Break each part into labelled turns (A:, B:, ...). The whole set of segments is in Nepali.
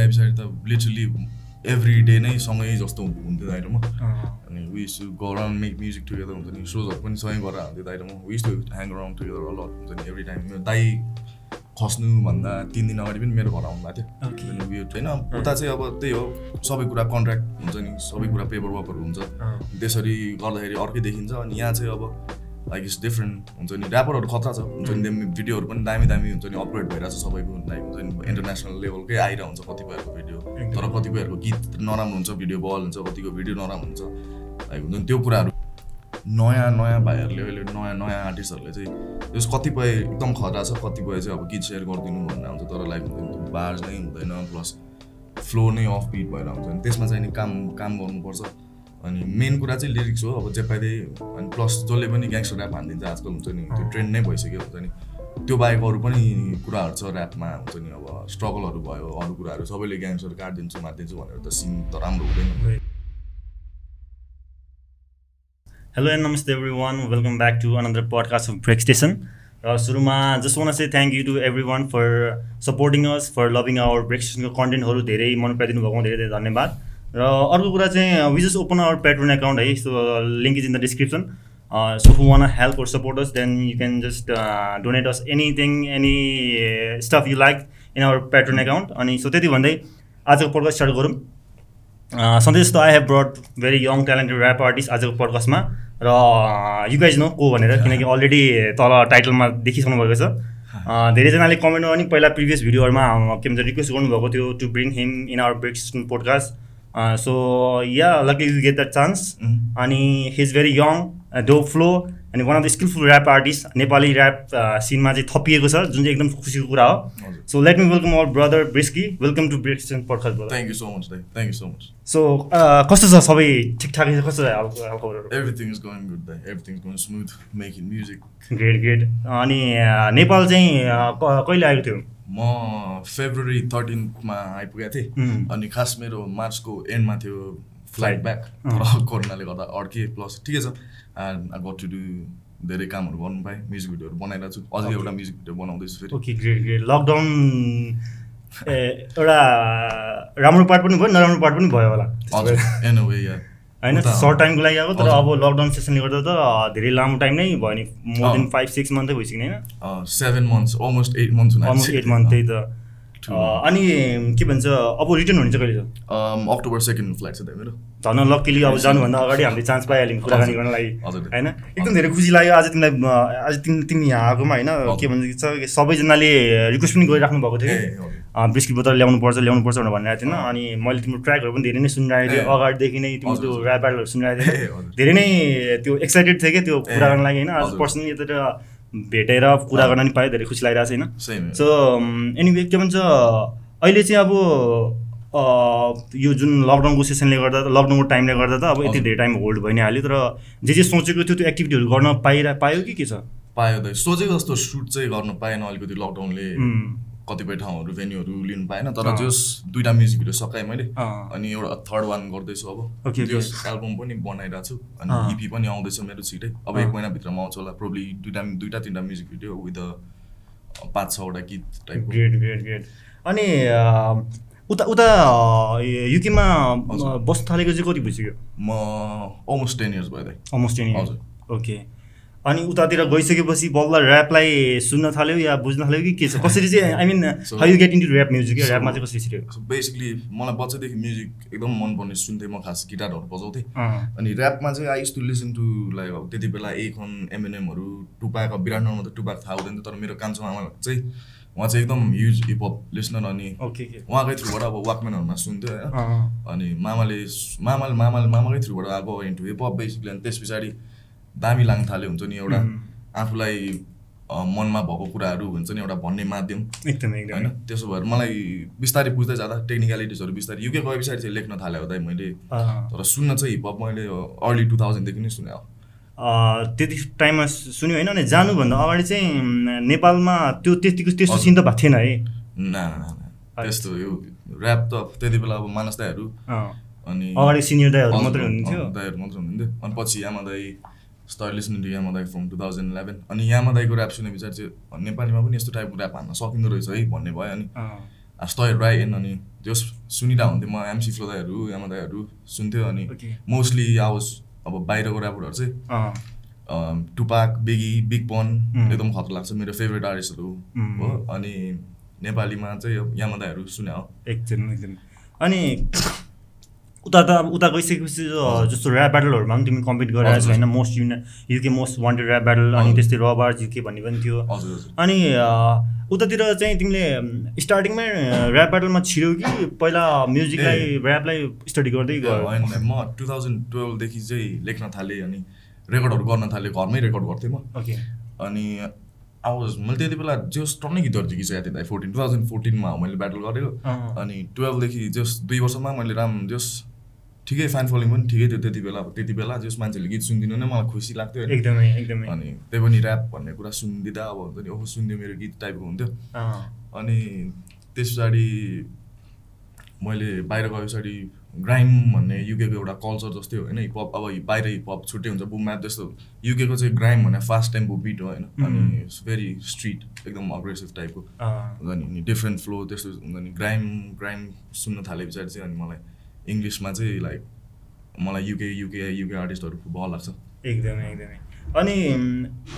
A: आए पछाडि त लिटरली एभ्री डे नै सँगै जस्तो हुन्- हुन्थ्यो दाइरोमा
B: अँ,
A: अनि we you go around make music together हुन्छ नि सोजहरू पनि सँगै गरेर हाल्थ्यो दाइरोमा we you hang around together a lot हुन्छ नि एभ्री टाइम मेरो दाई खस्नुभन्दा तिन दिन अगाडि पनि मेरो घर आउनुभएको थियो
B: Okay.
A: अनि उयो होइन उता चाहिँ अब त्यही हो सबै कुरा कन्ट्र्याक्ट हुन्छ नि सबै कुरा पेपर वर्कहरू हुन्छ
B: अँ,
A: त्यसरी गर्दाखेरि अर्कै देखिन्छ अनि यहाँ चाहिँ अब लाइक इट्स डिफ्रेन्ट हुन्छ नि ऱ्यापरहरू खतरा छ हुन्छ नि देम भिडियोहरू पनि दामी दामी हुन्छ नि अपलोड भइरहेछ सबैको लाइक हुन्छ नि इन्टरनेसनल लेभलकै आइरहेको हुन्छ कतिपयहरूको भिडियो
B: एकदम।
A: तर कतिपयहरूको गीत नराम्रो हुन्छ भिडियो बल हुन्छ कतिको भिडियो नराम्रो हुन्छ लाइक हुन्छ नि त्यो कुराहरू नयाँ नयाँ भाइहरूले अहिले नयाँ नयाँ आर्टिस्टहरूले चाहिँ त्यस कतिपय एकदम खतरा छ कतिपय चाहिँ अब गीत सेयर गरिदिनु भन्ने हुन्छ तर लाइक हुन्छ नि त्यो बार्ज नै हुँदैन प्लस फ्लो नै अफ बिट भएर हुन्छ नि त्यसमा चाहिँ नि काम काम गर्नुपर्छ अनि मेन कुरा चाहिँ लिरिक्स हो अब जे पाइदै अनि प्लस जसले पनि ग्याङ्स्टर ऱ्याप हानिदिन्छ आजकल हुन्छ नि त्यो ट्रेन्ड नै भइसक्यो हुन्छ नि त्यो बाहेक अरू पनि कुराहरू छ ऱ्यापमा हुन्छ नि अब स्ट्रगलहरू भयो अरू कुराहरू सबैले ग्याङ्स्टर काटिदिन्छु मारिदिन्छु भनेर त सिन त राम्रो हुँदैन
B: great.
C: हेलो एन्ड नमस्ते everyone welcome back to another podcast of break station र सुरुमा जस्ट वान चाहिँ thank you to everyone for supporting us for loving our break स्टेसनको कन्टेन्टहरू धेरै मन पराइदिनु भएको धेरै धेरै धन्यवाद र अर्को कुरा चाहिँ uh, we just open our Patreon account है uh, so link is in the description so who want help or support us then you can just donate us anything any stuff you like in our Patreon account अनि सो त्यति भन्दै आजको पडकास्ट स्टार्ट गरौँ अ, सधैँ जस्तो I have brought very young talented rap artist आजको पडकास्टमा र यु गाइज नो को भनेर किनकि अलरेडी तल टाइटलमा देखिसक्नु भएको छ अ, धेरैजनाले कमेन्टमा पनि पहिला प्रिभियस भिडियोहरूमा अ, के भन्छ रिक्वेस्ट गर्नुभएको थियो to bring him in our break podcast so yeah lucky you get the chance
A: Mhm.
C: अनि he is very young dope flow अनि one of the skillful rap artist Nepali rap सिनमा चाहिँ थपिएको छ जुन चाहिँ एकदम खुसीको कुरा हो
A: हजुर।
C: So let me welcome our brother Brisky welcome to break podcast brother
A: thank you so much दाइ thank you so much
C: so uh, uh, कस्तो छ सबै ठिकठाकै छ कस्तो छ हाल- हालखबरहरू
A: एभ्रिथिङ इज गोइङ गुड दाइ everything is going smooth making music
C: great great अनि अ, नेपाल चाहिँ अ, क- कहिले आएको थियो
A: म फेब्रुअरी थर्टिनमा आइपुगेको थिएँ
C: उम्.
A: अनि खास मेरो मार्चको एन्डमा थियो फ्लाइट ब्याक तर कोरोनाले गर्दा अड्के प्लस ठिकै छ गट टु डु धेरै कामहरू गर्नु पाएँ म्युजिक भिडियोहरू बनाइरहेको छु अझै एउटा म्युजिक भिडियो बनाउँदैछु फेरि
C: ओके ग्रेट ग्रेट लकडाउन ए, एउटा uh, राम्रो पार्ट पनि भयो नराम्रो पार्ट पनि भयो होला
A: हजुर एन वे
C: होइन सर्ट टाइमको लागि आएको तर
A: हजुर।
C: अब लकडाउन सेसनले गर्दा त अ, धेरै लामो टाइम नै भयो नि मोर
A: अँ।
C: देन फाइभ सिक्स मन्थ भइसक्यो नि होइन
A: seven months almost eight months
C: almost eight month त्यही त अ, अनि के भन्छ अब रिटर्न हुनुहुन्छ कहिले त
A: अक्टोबर सेकेन्ड फ्लाइट छ त मेरो
C: धन लक्कीले अब जानुभन्दा अगाडि हामीले चान्स पाइहाल्यौँ कुराकानी गर्न लागि
A: हजुर।
C: होइन एकदम धेरै खुसी लाग्यो आज तिमीलाई म, आज तिमी तिमी यहाँ आएकोमा होइन के भन्छ कि सबैजनाले रिक्वेस्ट पनि गरिराख्नु भएको
A: ए,
C: थियो
A: हजुर।
C: ब्रिस्किट बोतल ल्याउनु पर्छ ल्याउनु पर्छ भनेर भनिरहेको थिएन अनि मैले तिम्रो ट्र्याकहरू पनि धेरै नै सुनिरहेको थिएँ
A: ए,
C: अगाडिदेखि नै तिम्रो
A: हजुर,
C: त्यो
A: हजुर।
C: ऱ्याप ब्याटलहरू सुनिरहेको थिएँ
A: ए, हजुर।
C: धेरै नै त्यो एक्साइटेड थिएँ कि त्यो
A: ए,
C: कुरा गर्न लागि होइन आज
A: हजुर।
C: पर्सनली यतातिर भेटेर कुरा गर्न नि पाएँ धेरै खुसी लागिरहेको छ होइन
A: सेम
C: सो एनिवे um, के भन्छ अहिले चाहिँ अब अ, यो जुन लकडाउनको सेसनले गर्दा त लकडाउनको टाइमले गर्दा त अब यति
A: हजुर।
C: धेरै टाइम होल्ड भइ नै हाल्यो तर जे जे सोचेको थियो त्यो एक्टिभिटीहरू गर्न पाइरह पायो कि के छ
A: पायो त सोचेको जस्तो सुट चाहिँ गर्नु पाएन अलिकति लकडाउनले
C: उम्,
A: कतिपय ठाउँहरू भेन्यूहरू लिनु पाएन
C: अँ।
A: तर जस दुइटा म्युजिक भिडियो सकाएँ मैले
C: अँ।
A: अनि एउटा थर्ड वान गर्दैछु अब
C: Okay, okay.
A: जस एल्बम पनि बनाइरहेको छु अनि
C: अँ।
A: इपी पनि आउँदैछ मेरो छिटै अब
C: अँ।
A: एक महिनाभित्रमा आउँछ होला प्रोब्ली दुइटा दुइटा तिनवटा म्युजिक भिडियो विथ पाँच छवटा गीत टाइपको
C: ग्रेट ग्रेट ग्रेट अनि अ, उता उता अ, युकेमा
A: हजुर।
C: अ, बस्नु थालेको चाहिँ कति भइसक्यो
A: म अलमोस्ट टेन इयर्स भयो दाइ
C: अलमोस्ट टेन
A: हजुर।
C: ओके अनि उतातिर गइसकेपछि बल्ल ऱ्यापलाई सुन्न थाल्यो या बुझ्न थाल्यो कि के छ कसरी चाहिँ I mean
A: So-
C: how you get into rap music
A: So-
C: ऱ्यापमा चाहिँ कसरी छिर्यो
A: बेसिकली मलाई बच्चादेखि म्युजिक एकदम मनपर्ने सुन्थेँ म खास गिटारहरू बजाउँथेँ
C: अँ।
A: अनि ऱ्यापमा चाहिँ I used to listen to like अब त्यति बेला एखन एमएनएमहरू टुपाक अब विराटनगरमा त टुपाक थाहा हुँदैन तर मेरो कान्छो आमा चाहिँ उहाँ चाहिँ एकदम ह्युज हिपहप लिसनर अनि
C: ओके के
A: उहाँकै थ्रुबाट अब वाकम्यानहरूमा सुन्थ्यो होइन
C: अँ,
A: अनि मामाले मामाले मामाले मामाकै थ्रुबाट आएको इन्टु हिपहप बेसिकली अनि त्यस पछाडि दामी लाग्न थाल्यो हुन्छ नि एउटा
C: उम्.
A: आफूलाई अ, मनमा भएको कुराहरू हुन्छ नि एउटा भन्ने माध्यम
C: एकदम
A: होइन
C: एकदम
A: त्यसो भएर मलाई बिस्तारै बुझ्दै जाँदा टेक्निकलिटिजहरू बिस्तारै युके गए पछाडि चाहिँ लेख्न थालेँ हो दाइ मैले
C: अँ,
A: तर सुन्न चाहिँ हिपहप मैले अर्ली टु थाउजन्डदेखि नै सुने हो
C: अँ, त्यति टाइममा सु- सुन्यो होइन अनि जानुभन्दा अगाडि चाहिँ म, नेपालमा त्यो त्यतिको त्यस्तो
A: हजुर।
C: सिन त भएको थिएन है
A: ना ना ना, ना त्यस्तो यो ऱ्याप त त्यति बेला अब मानस दाईहरू
C: अँ,
A: अनि
C: अगाडि सिनियर दाईहरू
A: हजुर,
C: मात्रै हुनुहुन्थ्यो
A: अँ, दाईहरू मात्रै हुनुहुन्थ्यो अनि पछि यामा दाई स्टार लिसनिङ टु यामा दाई फ्रम टु थाउजन्ड इलेभेन अनि यामा दाईको ऱ्याप सुने पछाडि चाहिँ नेपालीमा पनि यस्तो टाइपको ऱ्याप हान्न सकिँदो रहेछ है भन्ने भयो अनि
C: अँ,
A: स्टयर राई एन अनि त्यो सुनिरहेको हुन्थ्यो म एमसी फ्लो दाईहरू यामा दाईहरू सुन्थ्यो अनि
C: Okay.
A: मोस्टली आवाज अब बाहिरको ऱ्यापरहरू चाहिँ
C: अँ,
A: अम, टुपाक बेगी बिग पन
C: Mm.
A: एकदम खतरा लाग्छ मेरो फेभरेट आर्टिस्टहरू
C: Mm.
A: हो अनि नेपालीमा चाहिँ अब यामा दाईहरू सुने हो
C: एकदम एकदम अनि उता त अब उता गइसकेपछि अ, जस्तो ऱ्याप ब्याटलहरूमा पनि तिमी कम्पिट गरिरहेको छौ होइन मोस्ट युना UK most wanted rap battle अनि
A: हजुर।
C: त्यस्तै रबार्स युके भन्ने पनि थियो
A: हजुर हजुर
C: अनि अ, उतातिर चाहिँ तिमीले अम, स्टार्टिङमै ऱ्याप ब्याटलमा छिर्यौ कि पहिला म्युजिकलाई ऱ्यापलाई स्टडी गर्दै गयो
A: होइन म टु थाउजन्ड टुवेल्भदेखि चाहिँ लेख्न थालेँ अनि रेकर्डहरू गर्न थालेँ घरमै रेकर्ड गर्थेँ म
C: ओके
A: अनि आवाज मैले त्यति बेला जस टन्नै गीतहरू चाहिँ गीत थिएँ फोर्टिन टु थाउजन्ड फोर्टिनमा हो मैले ब्याटल गरेको
C: अँ।
A: अनि टुवेल्भदेखि जस दुई वर्षमा मैले राम जस ठिकै फ्यान फलोइङ पनि ठिकै थियो त्यति बेला अब त्यति बेला जस मान्छेले गीत सुनिदिनु नै मलाई खुसी लाग्थ्यो होइन।
C: एकदमै एकदमै
A: अनि त्यही पनि ऱ्याप भन्ने कुरा सुनिदिँदा अब हुन्छ नि ओहो सुनिदियो मेरो गीत टाइपको हुन्थ्यो
C: अँ,
A: अनि त्यस पछाडि मैले बाहिर गए पछाडि ग्राइम भन्ने युकेको एउटा कल्चर जस्तै हो होइन हिपहप अब बाहिर हिपहप छुट्टै हुन्छ बुम म्याप जस्तो युकेको चाहिँ ग्राइम भन्ने फास्ट टेम्पो बिट हो होइन अनि भेरी स्ट्रिट एकदम अग्रेसिभ टाइपको
C: अँ,
A: हुन्छ नि अनि डिफ्रेन्ट फ्लो त्यस्तो हुन्छ नि ग्राइम ग्राइम सुन्न थाले पछाडि चाहिँ अनि मलाई इङ्ग्लिसमा चाहिँ लाइक मलाई युके युके युके आर्टिस्टहरू भल लाग्छ
C: एकदमै एकदमै अनि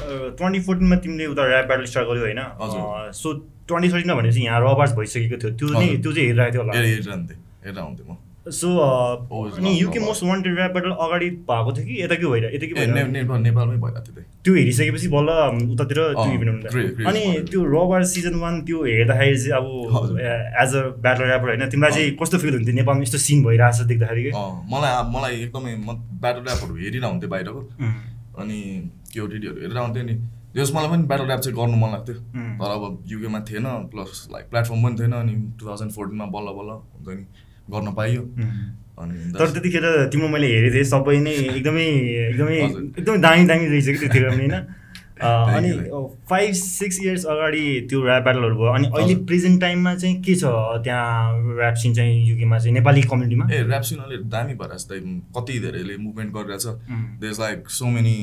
C: ट्वेन्टी फोर्टिनमा तिमीले उता ऱ्याप ब्याटल स्टार्ट गर्यो होइन
A: हजुर।
C: अ, सो ट्वेन्टी थर्टिनमा भनेपछि यहाँ रबार्स भइसकेको थियो त्यो नै
A: हजुर।
C: त्यो चाहिँ हेरिरहेको थियो
A: हेरेर
C: होला
A: हेरिरहन्थेँ हेरेर आउँथेँ म
C: सो
A: Oh, it's
C: अनि
A: not
C: UK
A: Robarts.
C: Most wanted rap battle अगाडि भएको थियो कि यता के भएर यता के
A: ए ने-
C: भएर
A: नेपाल नेपालमै भइरहेको थियो त्यही
C: त्यो हेरिसकेपछि बल्ल अम, उतातिर त्यो
A: अँ,
C: इभेन्ट हुन्छ
A: great, great
C: अनि
A: spot.
C: त्यो रबार्स सिजन वान त्यो हेर्दाखेरि चाहिँ अब
A: हजुर।
C: एज अ ब्याटल ऱ्यापर होइन तिमीलाई चाहिँ कस्तो फिल हुन्थ्यो नेपालमा यस्तो सिन भइरहेको छ देख्दाखेरि कि?
A: अँ, मलाई अब- मलाई एकदमै म ब्याटल ऱ्यापहरू हेरेर हुन्थेँ बाहिरको
C: उम्,
A: अनि के हो टिडीहरू हेरेर आउँथेँ नि जस मलाई पनि ब्याटल ऱ्याप चाहिँ गर्नु मन लाग्थ्यो
C: उम्,
A: तर अब युकेमा थिएन प्लस लाइक प्लेटफर्म पनि थिएन अनि टु थाउजन्ड फोर्टिनमा बल्ल बल्ल हुन्छ नि गर्न पाइयो
C: उम्।
A: अनि
C: तर त्यतिखेर तिम्रो मैले हेरेको थिएँ सबै नै एकदमै एकदमै
A: हजुर।
C: एकदमै दामी दामी रहेछ कि त्यतिखेर पनि होइन अ,
A: Thank
C: अनि
A: you,
C: फाइभ सिक्स इयर्स अगाडि त्यो ऱ्याप ब्याटलहरू भयो अनि अहिले
A: हजुर।
C: प्रेजेन्ट टाइममा चाहिँ के छ त्यहाँ ऱ्याप सिन चाहिँ युकेमा चाहिँ नेपाली कम्युनिटीमा
A: ए ऱ्याप सिन अहिले दामी भएर जस्तै कति धेरैले मुभमेन्ट गरिरहेछ
C: um,
A: these like so many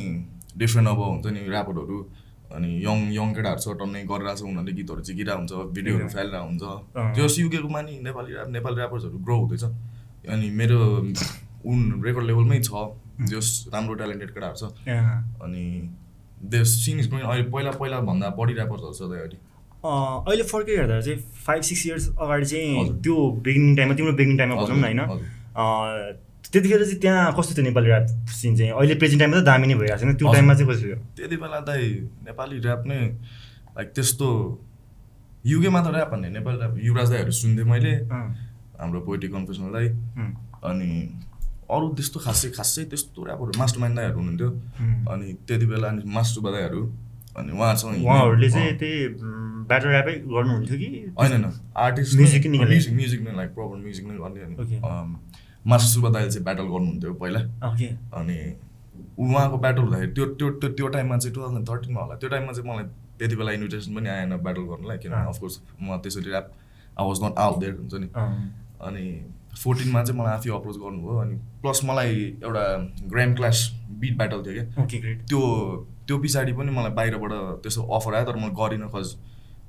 A: different अब हुन्छ नि ऱ्यापरहरू अनि यङ यङ केटाहरू छ टन्नै गरिरहेछ उनीहरूले गीतहरू झिकिरहेको हुन्छ भिडियोहरू
C: एकदम।
A: फालिरहेको हुन्छ
C: अँ।
A: त्यो युकेकोमा नि नेपाली ऱ्याप नेपाली ऱ्यापर्सहरू ग्रो हुँदैछ अनि मेरो उन रेकर्ड लेभलमै छ
C: Mm.
A: जस राम्रो ट्यालेन्टेड केटाहरू छ
C: अँ।
A: अनि देश सिन इज गोइङ अहिले पहिला पहिलाभन्दा बढी ऱ्यापर्सहरू छ त अहिले
C: अ, अहिले फर्केर हेर्दा चाहिँ फाइभ सिक्स इयर्स अगाडि चाहिँ
A: हजुर।
C: त्यो बिगिनिङ टाइममा तिम्रो बिगिनिङ टाइममा भनौँ न होइन
A: हजुर।
C: अ, त्यतिखेर चाहिँ त्यहाँ कस्तो थियो नेपाली ऱ्याप सिन चाहिँ अहिले प्रेजेन्ट टाइममा त दामी नै भइरहेको छैन त्यो
A: हजुर।
C: टाइममा चाहिँ कस्तो थियो
A: त्यति बेला त नेपाली ऱ्याप नै लाइक त्यस्तो युकेमा त ऱ्याप भन्ने नेपाली ऱ्याप युवराज दाईहरू सुन्थेँ मैले
C: अँ,
A: हाम्रो पोइट्री कन्फेसनल दाई
C: उम्,
A: अनि अरू त्यस्तो खासै खासै त्यस्तो ऱ्यापहरू मास्टर माइन दाईहरू हुनुहुन्थ्यो
C: उम्।
A: अनि त्यति बेला अनि मास्टर दाईहरू अनि उहाँहरूसँग हिँड्ने-
C: उहाँहरूले चाहिँ
A: अँ।
C: त्यही ब्याटर ऱ्यापै गर्नुहुन्थ्यो कि
A: होइन होइन आर्टिस्ट
C: म्युजिक नै गर्ने।
A: म्युजिक म्युजिक नै लाइक प्रपर म्युजिक नै गर्ने अनि
C: Okay.
A: अम्, मास्टर सुब्बा दाईले चाहिँ ब्याटल गर्नुहुन्थ्यो पहिला
C: ओके
A: अनि उहाँको ब्याटल हुँदाखेरि त्यो त्यो त्यो त्यो टाइममा चाहिँ टु थाउजन्ड थर्टिनमा होला त्यो टाइममा चाहिँ मलाई त्यति बेला इन्भिटेसन पनि आएन ब्याटल गर्नुलाई किनभने
C: अँ।
A: अफकोर्स म त्यसरी rap I was not out there हुन्छ नि
C: अँ,
A: अनि फोर्टिनमा चाहिँ मलाई आफै अप्रोच गर्नुभयो अनि प्लस मलाई एउटा ग्रान्ड क्लास बिट ब्याटल थियो क्या
C: ओके ग्रेट
A: त्यो त्यो पछाडि पनि मलाई बाहिरबाट त्यस्तो अफर आयो तर मैले गरिनँ कज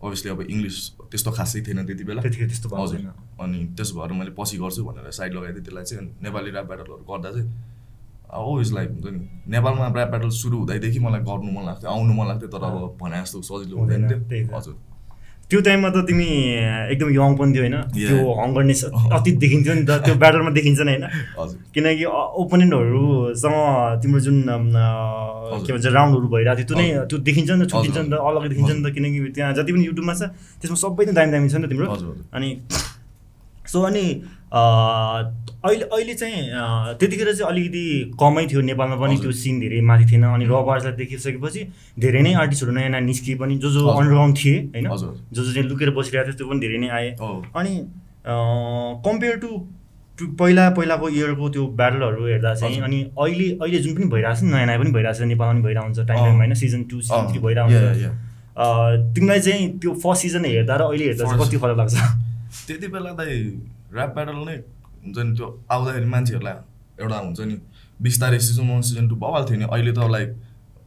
A: अभियसली अब इङ्ग्लिस त्यस्तो खासै थिएन त्यति बेला
C: त्यतिखेर त्यस्तो भएको
A: हजुर
C: छैन
A: अनि त्यस भएर मैले पछि गर्छु भनेर साइड लगाइदिएँ त्यसलाई चाहिँ अनि नेपाली ऱ्याप ब्याटलहरू गर्दा चाहिँ अब इज लाइक हुन्छ नि नेपालमा ऱ्याप ब्याटल सुरु हुँदैदेखि मलाई गर्नु मन लाग्थ्यो आउनु मन लाग्थ्यो तर अब भने जस्तो सजिलो हुँदैन
C: हुँदैन, त्यही
A: थियो
C: त।
A: हजुर
C: त्यो टाइममा त तिमी एकदम यङ पनि थियो होइन
A: Yeah.
C: त्यो हङ्गरनेस अति देखिन्थ्यो नि त त्यो ब्याटलमा देखिन्छ नि होइन
A: हजुर
C: किनकि ओपोनेन्टहरूसँग तिम्रो जुन अम, अ, के भन्छ राउन्डहरू भइरहेको थियो त्यो नै त्यो देखिन्छ नि त छुटिन्छ नि त अलग्गै देखिन्छ नि त किनकि त्यहाँ जति पनि युट्युबमा छ त्यसमा सबै नै दामी दामी छ नि त तिम्रो
A: हजुर, हजुर।
C: अनि सो अनि अ, अहिले अहिले चाहिँ अ, त्यतिखेर चाहिँ अलिकति कमै थियो नेपालमा पनि
A: हजुर।
C: त्यो सिन धेरै माथि थिएन अनि रबार्सलाई देखिसकेपछि धेरै नै आर्टिस्टहरू नयाँ नयाँ निस्किए पनि जो जो
A: हजुर।
C: अन्डरग्राउन्ड थिए होइन
A: हजुर।
C: जो जो चाहिँ लुकेर बसिरहेको थियो त्यो पनि धेरै नै आए
A: हो
C: अनि कम्पेयर टु टु पहिला पहिलाको इयरको त्यो ब्याटलहरू हेर्दा चाहिँ
A: हजुर।
C: अनि अहिले अहिले जुन पनि भइरहेको छ नि, नयाँ नयाँ पनि भइरहेको छ नेपालमा पनि भइरहेको हुन्छ टाइम
A: अँ।
C: टाइममा होइन सिजन टू सिजन
A: अँ,
C: थ्री भइरहेको
A: yeah,
C: हुन्छ
A: yeah.
C: अ, तिमीलाई चाहिँ त्यो फर्स्ट सिजन हेर्दा र अहिले हेर्दा चाहिँ
A: First-
C: कति फरक लाग्छ
A: त्यति बेला त ऱ्याप ब्याटल नै हुन्छ नि त्यो आउँदाखेरि मान्छेहरूलाई एउटा हुन्छ नि बिस्तारै सिजन वान सिजन टू भइहाल्थ्यो थियो नि अहिले त like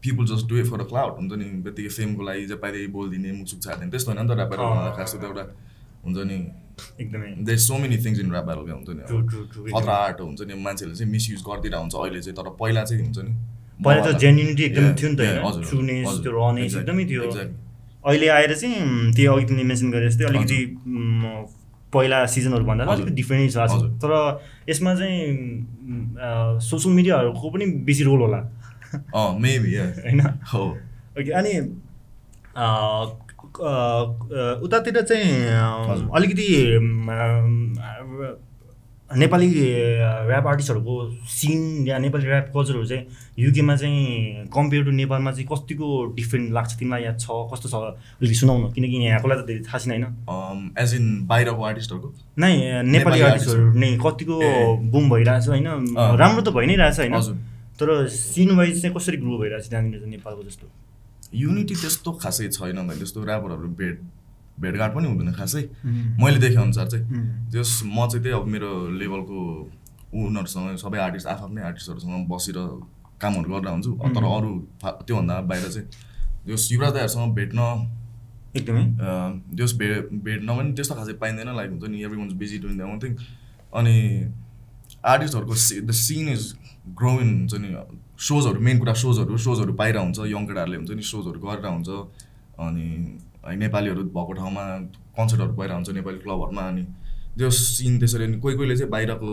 A: people just do a for a clout हुन्छ नि बित्तिकै फेमको लागि जे पाइदिए बोलिदिने मुखसुक छाडिदिने त्यस्तो होइन नि त ऱ्याप ब्याटल
C: अँ।
A: खास त एउटा हुन्छ नि
C: एकदमै
A: there so many things in rap battle हुन्छ नि
C: ट्रु ट्रु ट्रु
A: खतरा आँट हुन्छ नि मान्छेहरूले चाहिँ मिसयुज गरिदिरहेको हुन्छ अहिले चाहिँ तर पहिला चाहिँ हुन्छ नि
C: पहिला त जेन्युनिटी एकदम
A: Yeah,
C: थियो नि त
A: yeah,
C: होइन
A: हजुर,
C: ट्रुनेस
A: हजुर,
C: त्यो रनेस
A: exactly,
C: एकदमै थियो
A: exactly.
C: अहिले आएर चाहिँ उम्, त्यो अघि तिमीले मेन्सन गरे जस्तै अलिकति उम्, पहिला सिजनहरूभन्दा
A: हजुर,
C: अलिकति डिफ्रेन्टै छ आज
A: हजुर।
C: तर यसमा चाहिँ सोसियल मिडियाहरूको पनि बेसी रोल होला
A: अँ मेबी
C: होइन
A: हो
C: ओके अनि अ, क- अ, अ, उतातिर चाहिँ अ,
A: हजुर।
C: अलिकति म, अ, नेपाली ऱ्याप आर्टिस्टहरूको सिन या नेपाली ऱ्याप कल्चरहरू चाहिँ युकेमा चाहिँ कम्पेयर टु नेपालमा चाहिँ कतिको डिफ्रेन्ट लाग्छ तिमीलाई याद छ कस्तो छ अलिकति सुनाउनु किनकि यहाँकोलाई त धेरै थाहा छैन होइन
A: एज इन um, बाहिरको आर्टिस्टहरूको
C: नै अ, नेपाली
A: नेपाली
C: आर्टिस्टहरू नै कतिको
A: ए।
C: बुम भइरहेछ होइन
A: अँ।
C: राम्रो त भइ नै रहेछ होइन
A: हजुर
C: तर सिन वाइज चाहिँ कसरी ग्रो भइरहेछ त्यहाँनिर चाहिँ नेपालको जस्तो
A: युनिटी त्यस्तो खासै छैन भाइ त्यस्तो ऱ्यापरहरू भेट भेटघाट पनि हुँदैन खासै मैले देखेअनुसार चाहिँ त्यस म चाहिँ त्यही अब मेरो लेभलको उनीहरूसँग सबै आर्टिस्ट आफ्नै आर्टिस्टहरूसँग बसेर कामहरू गरेर हुन्छु तर अरू फा- त्योभन्दा बाहिर चाहिँ जस युवराज दाईहरूसँग भेट्न
C: एकदमै
A: जस भे भेट्न पनि त्यस्तो खासै पाइँदैन लाइक हुन्छ नि everyone's busy doing the one thing अनि आर्टिस्टहरूको see the scene is growing हुन्छ नि सोजहरू मेन कुरा सोजहरू सोजहरू पाइरह हुन्छ यङ केटाहरूले हुन्छ नि सोजहरू गरेर हुन्छ अनि है नेपालीहरू भएको ठाउँमा कन्सर्टहरू भइरहेको हुन्छ नेपाली क्लबहरूमा अनि जो सिन त्यसरी अनि कोही कोहीले चाहिँ बाहिरको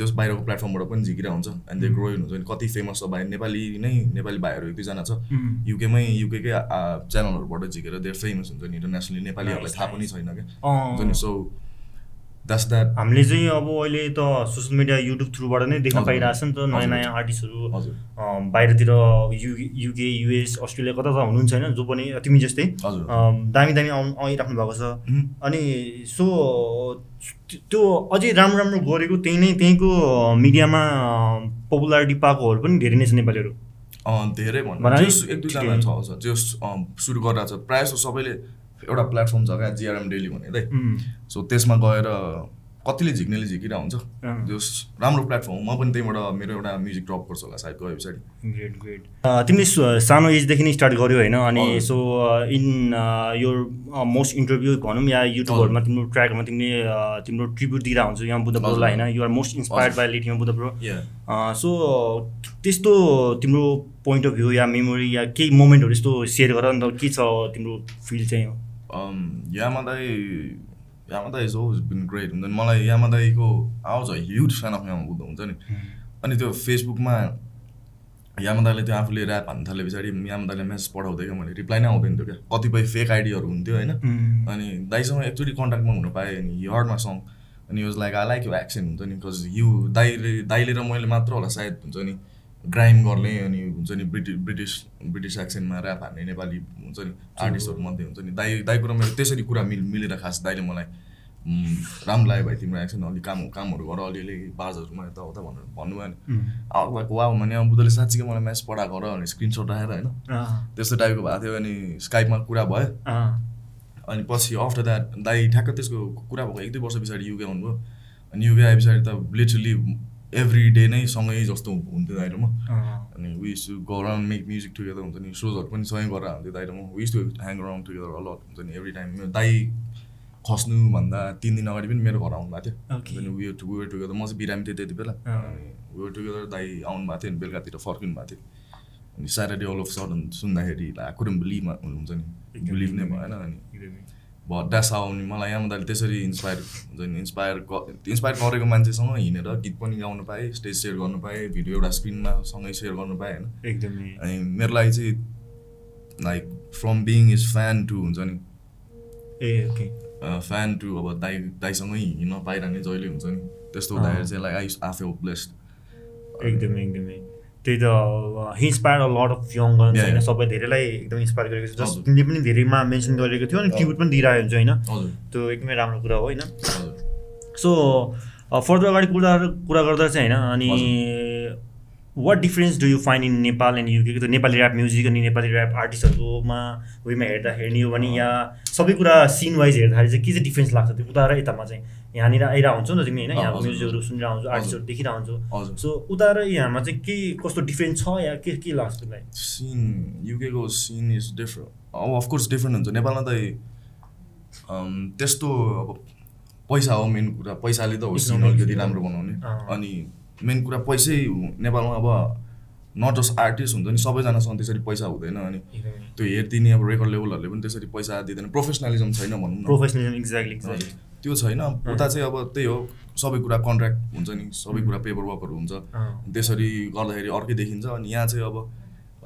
A: जस बाहिरको प्लेटफर्मबाट पनि झिकिरहेको हुन्छ एन्ड दे ग्रोइन हुन्छ नि कति फेमस छ भाइ नेपाली नै नेपाली भाइहरू एक दुईजना छ
C: Mm.
A: युकेमै युकेकै च्यानलहरूबाट झिकेर दे फेमस हुन्छ नि इन्टरनेसनली नेपालीहरूलाई
C: Nice,
A: थाहा पनि
C: nice.
A: छैन क्या
C: अँ,
A: हुन्छ नि सो द्याट्स द्याट
C: हामीले चाहिँ अब अहिले त सोसियल मिडिया युट्युब थ्रुबाट नै देख्न
A: हजुर,
C: पाइरहेछ नि त नयाँ
A: हजुर,
C: नयाँ आर्टिस्टहरू
A: हजुर
C: अँ, बाहिरतिर यु युके युएस अस्ट्रेलिया कता कता हुनुहुन्छ होइन जो पनि तिमी जस्तै
A: हजुर
C: अँ, दामी दामी आउनु आइराख्नु भएको छ
A: हुँ।
C: अनि सो त्यो अझै राम्रो राम्रो गरेको त्यही नै त्यहीँको मिडियामा पपुलारिटी पाएकोहरू पनि धेरै नै छ नेपालीहरू
A: अँ, धेरै भन्नु
C: बनायो?
A: जस एक दुईजना छ छ जस अँ, सुरु गरिरहेको छ प्रायः जस्तो सबैले एउटा प्लेटफर्म छ क्या जिआरएम डेली भन्ने त
C: उम्,
A: सो त्यसमा गएर कतिले झिक्नेले झिकिरहेको हुन्छ
C: अँ।
A: जस राम्रो प्लेटफर्म म पनि त्यहीँबाट मेरो एउटा म्युजिक ड्रप गर्छु होला सायद गए पछाडि
C: ग्रेट ग्रेट तिमीले स- सानो एजदेखि नै स्टार्ट गर्यो होइन अनि
A: हजुर।
C: सो इन यो मोस्ट इन्टरभ्यू भनौँ या युट्युबहरूमा तिम्रो ट्र्याकहरूमा तिमीले अ, तिम्रो ट्रिब्युट दिइरहेको हुन्छौ यहाँ बुद्धप्रोलाई होइन you're most inspired by lit यहाँ बुद्धप्रो
A: Yeah.
C: सो त्यस्तो तिम्रो पोइन्ट अफ भ्यू या मेमोरी या केही मोमेन्टहरू यस्तो सेयर गर नि त के छ तिम्रो फिल चाहिँ
A: um, Yamadai Yamadai has always been great हुन्छ नि मलाई यामादाईको I was a huge fan of Yamabuddha हुन्छ नि अनि त्यो फेसबुकमा यामादाले त्यो आफूले ऱ्याप हान्न थाले पछाडि यामादाले मेसेज पठाउँदै क्या मैले रिप्लाई नै आउँदैन थियो क्या कतिपय फेक आइडीहरू हुन्थ्यो होइन
C: Mm.
A: अनि दाईसँग एकचोटि कन्ट्याक्टमा हुन पाएँ अनि हर्डमा सङ अनि वाज लाइक आई लाइक यो एक्सन हुन्छ नि बिकज यु दाइले दाइले र मैले मात्र होला सायद हुन्छ नि ग्राइम गर्ने अनि हुन्छ नि ब्रिटि ब्रिटिस ब्रिटिस एक्सेन्टमा ऱ्याप हान्ने नेपाली हुन्छ नि आर्टिस्टहरू मध्ये हुन्छ नि दाई दाईको र मेरो त्यसरी कुरा मिल मिलेर खास दाइले मलाई "उम्, राम्रो लाग्यो भाइ तिम्रो एक्सन अलि काम कामहरू गर अलिअलि बाजहरूमा यताउता भनेर भन्नुभयो नि
C: Mm.
A: अब लाइक वा भने अब बुद्धले साँच्चीकै मलाई म्याच पठाएको र अनि स्क्रिनसट राखेर होइन
C: अँ,
A: त्यस्तो टाइपको भएको थियो अनि स्काइपमा कुरा भयो
C: अँ,
A: अनि पछि आफ्टर द्याट दाई ठ्याक्क त्यसको कुरा भएको एक दुई वर्ष पछाडि युके आउनुभयो अनि युके आए पछाडि त लिटरली एभ्री डे नै सँगै जस्तो हुन्थ्यो दाइ र म
C: अँ,
A: अनि we used to go around make music together हुन्छ नि सोजहरू पनि सँगै गरेर हुन्थ्यो दाइ र म we used to hang around together a lot हुन्छ नि एभ्री टाइम मेरो दाई खस्नुभन्दा तिन दिन अगाडि पनि मेरो घर आउनु भएको
C: Okay.
A: थियो अनि वे टु वे टुगेदर म चाहिँ बिरामी थिएँ त्यति बेला
C: अँ।
A: अनि वे टुगेदर दाई आउनु भएको थियो अनि बेलुकातिर फर्किनु भएको थियो अनि स्याटरडे अल अफ सडन सुन्दाखेरि कुरुम बिलिभमा हुनुहुन्छ नि
C: एकदम।
A: बिलिभ नै भएन अनि
C: एकदमै।
A: भड्डा साउनी मलाई यहाँ दाले त्यसरी इन्सपायर हुन्छ नि इन्सपायर इन्सपायर गरेको मान्छेसँग हिँडेर गीत पनि गाउनु पाएँ स्टेज सेयर गर्नु पाएँ भिडियो एउटा स्क्रिनमा सँगै सेयर गर्नु पाएँ होइन
C: एकदमै
A: अनि मेरो लागि चाहिँ like from being his fan to हुन्छ नि
C: ए ओके
A: फ्यान टु अब दाइ दाइसँगै हिँड्न पाइरहने जहिले हुन्छ नि त्यस्तो
C: अँ।
A: हुँदाखेरि चाहिँ लाइक आई आफै ब्लेस्ड
C: एकदमै एकदमै त्यही त he inspire a lot of young गर्नु
A: Yeah,
C: होइन
A: yeah.
C: सबै धेरैलाई एकदम इन्सपायर गरेको छ जस्ट
A: हजुर।
C: तिमीले पनि धेरैमा मेन्सन गरेको थियो अनि
A: हजुर।
C: ट्रिब्युट पनि दिइरहेको हुन्छ होइन
A: हजुर
C: त्यो एकदमै राम्रो कुरा हो होइन
A: हजुर
C: सो फर्दर uh, अगाडि कुरा कुरा गर्दा चाहिँ होइन अनि what difference do you find in Nepal and युकेको त नेपाली ऱ्याप म्युजिक अनि नेपाली ऱ्याप आर्टिस्टहरूकोमा वेमा हेर्दा हेर्ने हो भने या सबै कुरा सिन वाइज हेर्दाखेरि चाहिँ के चाहिँ डिफ्रेन्स लाग्छ त्यो उता र यतामा चाहिँ यहाँनिर आइरहेको हुन्छौ नि त तिमी होइन
A: अँ,
C: यहाँको
A: हजुर,
C: म्युजिकहरू सुनिरहेको हुन्छौ आर्टिस्टहरू देखिरहेको हुन्छौ
A: हजुर
C: सो उता र यहाँमा चाहिँ के कस्तो डिफ्रेन्स छ या के के लाग्छ त्यसलाई
A: सिन युकेको सिन इज Oh, डिफ्रेन्ट अब अफकोर्स डिफ्रेन्ट हुन्छ नेपालमा त अम्, त्यस्तो अब पैसा हो मेन कुरा पैसाले त हो सिन
B: Economics.
A: अलिकति राम्रो बनाउने
B: अँ।
A: अनि मेन कुरा पैसै हो। नेपालमा अब नट जस्ट आर्टिस्ट हुन्छ नि सबैजनासँग त्यसरी पैसा हुँदैन अनि
B: एकदमै
A: त्यो हेरिदिने अब रेकर्ड लेभलहरूले पनि त्यसरी पैसा दिँदैन प्रोफेसनलिजम छैन भनौँ न
C: प्रोफेसनल एक्ज्याक्टली एक्ज्याक्टली
A: त्यो छैन उता चाहिँ अब त्यही हो सबै कुरा कन्ट्र्याक्ट हुन्छ नि सबै कुरा पेपर वर्कहरू हुन्छ
B: Mm। अँ।
A: त्यसरी गर्दाखेरि अर्कै देखिन्छ अनि यहाँ चाहिँ अब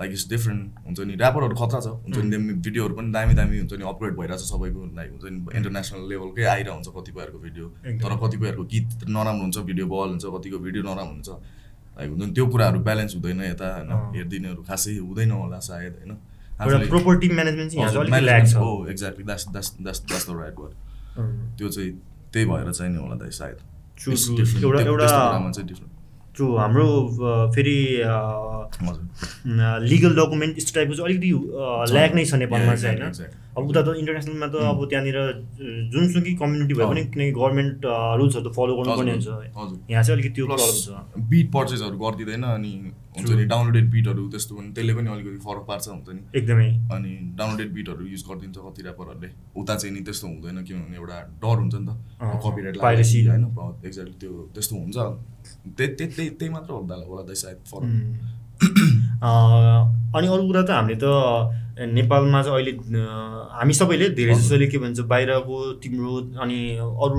A: लाइक इट्स डिफ्रेन्ट हुन्छ नि ऱ्यापरहरू खतरा छ हुन्छ
C: Hmm.
A: नि देम- भिडियोहरू पनि दामी दामी हुन्छ नि अपग्रेड भइरहेछ सबैको लाइक हुन्छ नि इन्टरनेसनल लेभलकै आइरहेको हुन्छ कतिपयहरूको भिडियो
C: एकदम।
A: तर कतिपयहरूको गीत नराम्रो हुन्छ भिडियो बल हुन्छ कतिको भिडियो नराम्रो हुन्छ लाइक हुन्छ नि त्यो कुराहरू ब्यालेन्स हुँदैन यता होइन
B: अँ।
A: हेरिदिनेहरू खासै हुँदैन होला सायद होइन
C: एउटा
A: आफूले-
C: प्रोपर टिम म्यानेजमेन्ट चाहिँ यहाँ चाहिँ अलिकति ल्याक छ
A: हो exactly that's that's that's that's the right word
B: अँ।
A: त्यो चाहिँ त्यही भएर चाहिँ नि होला दाइ सायद
C: True,
A: It's
C: true.
A: different.
C: एउटा-
A: त्यो-
C: एउटा-
A: त्यस्तो कुरामा चाहिँ different.
C: ट्रु हाम्रो अ, फेरि
A: हजुर।
C: लिगल डकुमेन्ट यस्तो टाइपको चाहिँ अलिकति ल्याक नै छ नेपालमा
A: Yeah,
C: चाहिँ
A: exactly,
C: होइन
A: exactly.
C: अब उता त इन्टरनेसनलमा त अब त्यहाँनिर अ, जुनसुकै कम्युनिटी भए
A: अँ।
C: पनि किनकि गभर्मेन्ट रुल्सहरू त फलो गर्नुपर्ने हुन्छ
A: हजुर, हजुर।
C: यहाँ चाहिँ अलिकति त्यो प्रब्लम
A: Plus,
C: छ
A: बिट पर्चेसहरू गरिदिँदैन अनि हुन्छ
C: True.
A: नि डाउनलोडेड बिटहरू त्यस्तो पनि त्यसले पनि अलिकति फरक पार्छ हुन्छ नि
C: एकदमै
A: अनि डाउनलोडेड बिटहरू युज गरिदिन्छ कति ऱ्यापरहरूले उता चाहिँ नि त्यस्तो हुँदैन किनभने एउटा डर हुन्छ नि
C: अँ,
A: त कपिराइट
C: piracy।
A: होइन एक्ज्याक्टली त्यो त्यस्तो हुन्छ त्यही त्यही- त्यही त्यही मात्र होला होला दाइ सायद फरक
C: अ, अनि अरू कुरा त हामीले त नेपालमा चाहिँ अहिले अ, हामी सबैले धेरै जसोले के भन्छ बाहिरको तिम्रो अनि अरू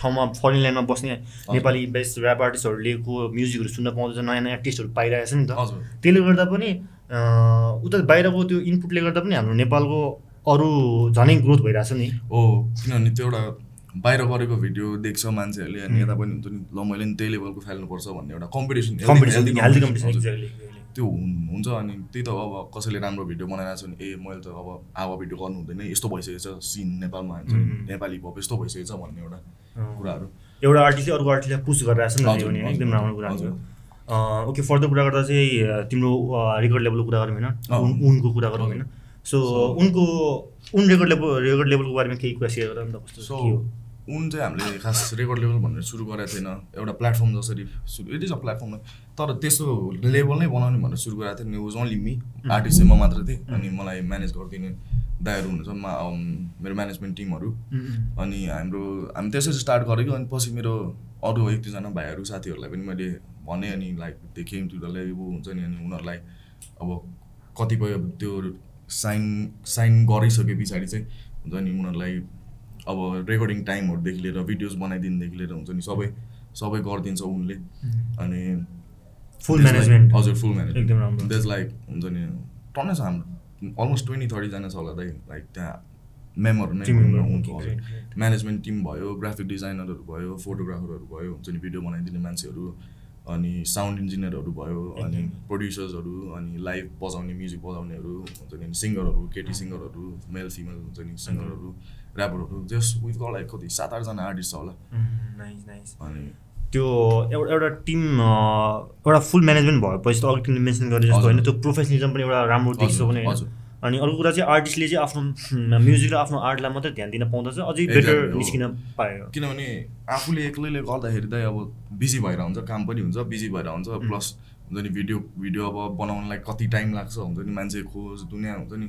C: ठाउँमा फरेन ल्यान्डमा बस्ने नेपाली बेस्ट ऱ्याप आर्टिस्टहरूको म्युजिकहरू सुन्न पाउँदैछ नयाँ नयाँ टेस्टहरू पाइरहेछ नि त
A: हजुर।
C: त्यसले गर्दा पनि अ, उता बाहिरको त्यो इनपुटले गर्दा पनि हाम्रो नेपालको अरू झनै ग्रोथ भइरहेछ नि
A: हो किनभने त्यो एउटा बाहिर गरेको भिडियो देख्छ मान्छेहरूले अनि यता पनि हुन्छ नि ल मैले नि त्यही लेभलको फाल्नुपर्छ भन्ने एउटा competition
C: competition healthy competition exactly
A: त्यो हुन्- हुन्छ अनि त्यही त अब कसैले राम्रो भिडियो बनाइरहेको छ भने ए मैले त अब आवा भिडियो गर्नु हुँदैन यस्तो भइसकेको छ सिन नेपालमा हुन्छ नि,
C: उम्.
A: नेपाली हिप यस्तो भइसकेको छ भन्ने एउटा कुराहरू
C: एउटा आर्टिस्टले अर्को आर्टिस्टलाई पुस गरिरहेको छ नि त यो
A: हजुर,
C: भने
A: हजुर,
C: एकदम राम्रो कुरा
A: हजुर।
C: हो ओके फर्दर कुरा गर्दा चाहिँ अ, तिम्रो रेकर्ड लेभलको कुरा गरौँ होइन
A: अँ।
C: उन- उनको कुरा गरौँ होइन सो उनको उन रेकर्ड लेभल रेकर्ड लेभलको बारेमा केही कुरा सेयर गरौँ त कस्तो
A: सो
C: के हो
A: उन चाहिँ हामीले खास रेकर्ड लेभल भनेर सुरु गरेको थिएन एउटा प्लेटफर्म जसरी सुरु इट इज अ प्लेटफर्म तर त्यस्तो लेभल नै बनाउने भनेर सुरु गरेको थिएन वाज ओन्ली मी आर्टिस्ट चाहिँ म मात्र थिएँ अनि मलाई म्यानेज गरिदिने दाइहरू हुनुहुन्छ मा अम, मेरो म्यानेजमेन्ट टिमहरू अनि हाम्रो हामी त्यसरी स्टार्ट गरेको अनि पछि मेरो अरू एक दुईजना भाइहरू साथीहरूलाई पनि मैले भने अनि लाइक त्यो केम ट्युटरलाई ऊ हुन्छ नि अनि उनीहरूलाई अब कतिपय अब त्यो साइन साइन गरिसके पछाडि चाहिँ हुन्छ नि उनीहरूलाई अब रेकर्डिङ टाइमहरूदेखि लिएर भिडियोज बनाइदिनुदेखि लिएर हुन्छ नि सबै सबै गरिदिन्छ उनले अनि
C: फुल
A: त्यसलाई-
C: म्यानेजमेन्ट
A: हजुर फुल म्यानेजमेन्ट
C: एकदम राम्रो।
A: द्याट्स लाइक हुन्छ नि टन्नै छ हाम्रो अलमोस्ट ट्वेन्टी थर्टीजना छ होला दाइ लाइक त्यहाँ मेमहरू नै
C: Team member,
A: हुनुहुन्छ
C: okay,
A: हजुर म्यानेजमेन्ट टिम भयो ग्राफिक डिजाइनरहरू भयो फोटोग्राफरहरू भयो हुन्छ नि भिडियो बनाइदिने मान्छेहरू अनि साउन्ड इन्जिनियरहरू भयो अनि प्रड्युसर्सहरू अनि लाइभ बजाउने म्युजिक बजाउनेहरू हुन्छ नि सिङ्गरहरू केटी सिङ्गरहरू मेल फिमेल हुन्छ नि सिङ्गरहरू ऱ्यापरहरू जस विथ लाइक कति सात आठजना आर्टिस्ट छ होला
C: नाइस नाइस
A: अनि
C: त्यो एउटा एउटा टिम एउटा फुल म्यानेजमेन्ट भएपछि त अघि तिमीले मेन्सन गरे जस्तो
A: हजुर।
C: होइन त्यो प्रोफेसनलिजम पनि एउटा राम्रो
A: हजुर,
C: देख्छ भने होइन
A: हजुर।
C: अनि अर्को कुरा चाहिँ आर्टिस्टले चाहिँ आफ्नो म्युजिक र आफ्नो आर्टलाई मात्रै ध्यान दिन पाउँदा चाहिँ अझै बेटर
A: Exactly, हो।
C: निस्किन पायो
A: किनभने आफूले एक्लैले गर्दाखेरि त अब बिजी भएर हुन्छ काम पनि हुन्छ बिजी भएर हुन्छ प्लस हुन्छ नि भिडियो भिडियो अब बनाउनलाई कति टाइम लाग्छ हुन्छ नि मान्छे खोज दुनियाँ हुन्छ नि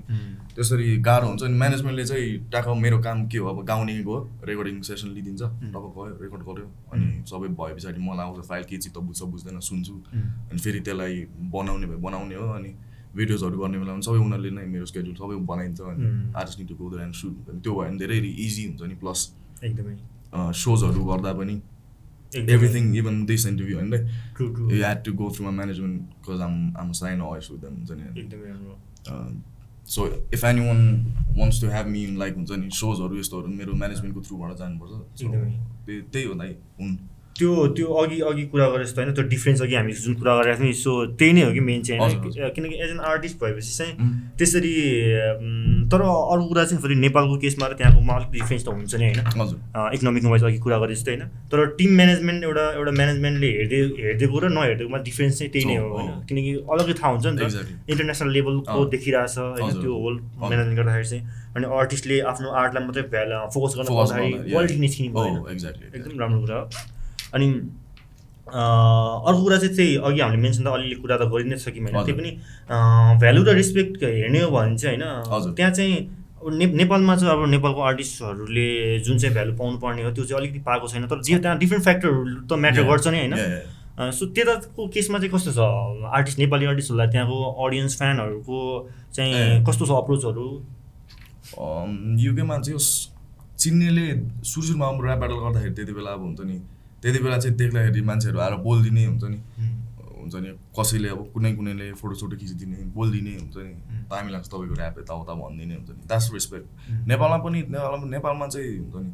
A: त्यसरी गाह्रो हुन्छ नि म्यानेजमेन्टले चाहिँ टाक मेरो काम के हो अब गाउने गयो रेकर्डिङ सेसन लिइदिन्छ टक्क गयो रेकर्ड गर्यो अनि सबै भए पछाडि मलाई आउँछ फाइल के चित्त बुझ्छ बुझ्दैन सुन्छु अनि फेरि त्यसलाई बनाउने भए बनाउने हो अनि भिडियोजहरू गर्ने बेलामा सबै उनीहरूले नै मेरो स्केड्युल सबै बनाइन्छ अनि
C: उम्.
A: आर्टिस्ट निटो गोदर एन्ड सुट हुन्छ नि त्यो भयो भने धेरै इजी हुन्छ नि प्लस
C: एकदमै
A: सोजहरू गर्दा पनि एभ्रिथिङ इभन दिस इन्टरभ्यू होइन
C: true true
A: you had to go through my management because I'm I'm sign अयस विथ हुन्छ नि अनि
C: एकदमै राम्रो
A: Um, so if anyone wants to have me like हुन्छ नि सोजहरू यस्तोहरू मेरो म्यानेजमेन्टको थ्रुबाट जानुपर्छ So,
C: एकदमै।
A: त्यही त्यही हो दाइ हुन्
C: त्यो त्यो अघि अघि कुरा गरे जस्तो होइन त्यो डिफ्रेन्स अघि हामी जुन कुरा गरेका थियौँ सो त्यही नै हो कि मेन चाहिँ
A: हजुर,
C: होइन किनकि एज एन आर्टिस्ट भएपछि चाहिँ
A: उम्.
C: त्यसरी अम्, तर अरू कुरा चाहिँ फेरि नेपालको केसमा र त्यहाँकोमा अलिक डिफ्रेन्स त हुन्छ नै होइन
A: हजुर
C: इकोनोमिक वाइज अघि कुरा गरे जस्तै होइन तर टिम म्यानेजमेन्ट एउटा एउटा म्यानेजमेन्टले हेर्दै हेरिदिएको र नहेरिदिएकोमा डिफ्रेन्स चाहिँ त्यही नै हो
A: हो,
C: होइन
A: हो।
C: किनकि अलग्गै थाहा हुन्छ नि त
A: Exactly.
C: इन्टरनेसनल लेभलको
A: अँ।
C: देखिरहेछ होइन
A: हजुर,
C: त्यो होल
A: हजुर।
C: म्यानेजमेन्ट गर्दाखेरि चाहिँ अनि आर्टिस्टले आफ्नो आर्टलाई मात्रै फोकस गर्न
A: Focus
C: पाउँदाखेरि
A: गर्दा, yeah.
C: क्वालिटी निस्किने
A: हो,
C: भयो होइन?
A: exactly,
C: एकदम राम्रो कुरा हो अनि अ, अर्को कुरा चाहिँ त्यही अघि हामीले मेन्सन त अलिअलि कुरा त गरि नै सक्यौँ होइन
A: हजुर।
C: त्यही पनि भ्यालु र रेस्पेक्ट हेर्ने हो भने चाहिँ होइन
A: हजुर।
C: त्यहाँ चाहिँ अ, अब ने नेपालमा चाहिँ अब नेपालको आर्टिस्टहरूले जुन चाहिँ भ्यालु पाउनुपर्ने हो त्यो चाहिँ अलिकति पाएको छैन तर जे त्यहाँ डिफ्रेन्ट फ्याक्टरहरू त म्याटर
A: Yeah.
C: गर्छ नि होइन
A: Yeah, yeah.
C: अ, सो त्यताको केसमा चाहिँ कस्तो छ आर्टिस्ट नेपाली आर्टिस्टहरूलाई त्यहाँको अडियन्स फ्यानहरूको चाहिँ
A: ए।
C: कस्तो छ अप्रोचहरू
A: अम्, युकेमा चाहिँ उस- चिन्नेले सुरु सुरुमा अब ऱ्याप ब्याटल गर्दाखेरि त्यति बेला अब हुन्छ नि त्यति बेला चाहिँ देख्दाखेरि मान्छेहरू आएर बोलिदिने हुन्छ नि हुन्छ नि कसैले अब कुनै कुनैले फोटोसोटो खिचिदिने बोलिदिने हुन्छ नि दामी लाग्छ तपाईँको ऱ्याप यताउता भनिदिने हुन्छ नि द्याट्स रेस्पेक्ट नेपालमा पनि नेपालमा नेपालमा चाहिँ हुन्छ नि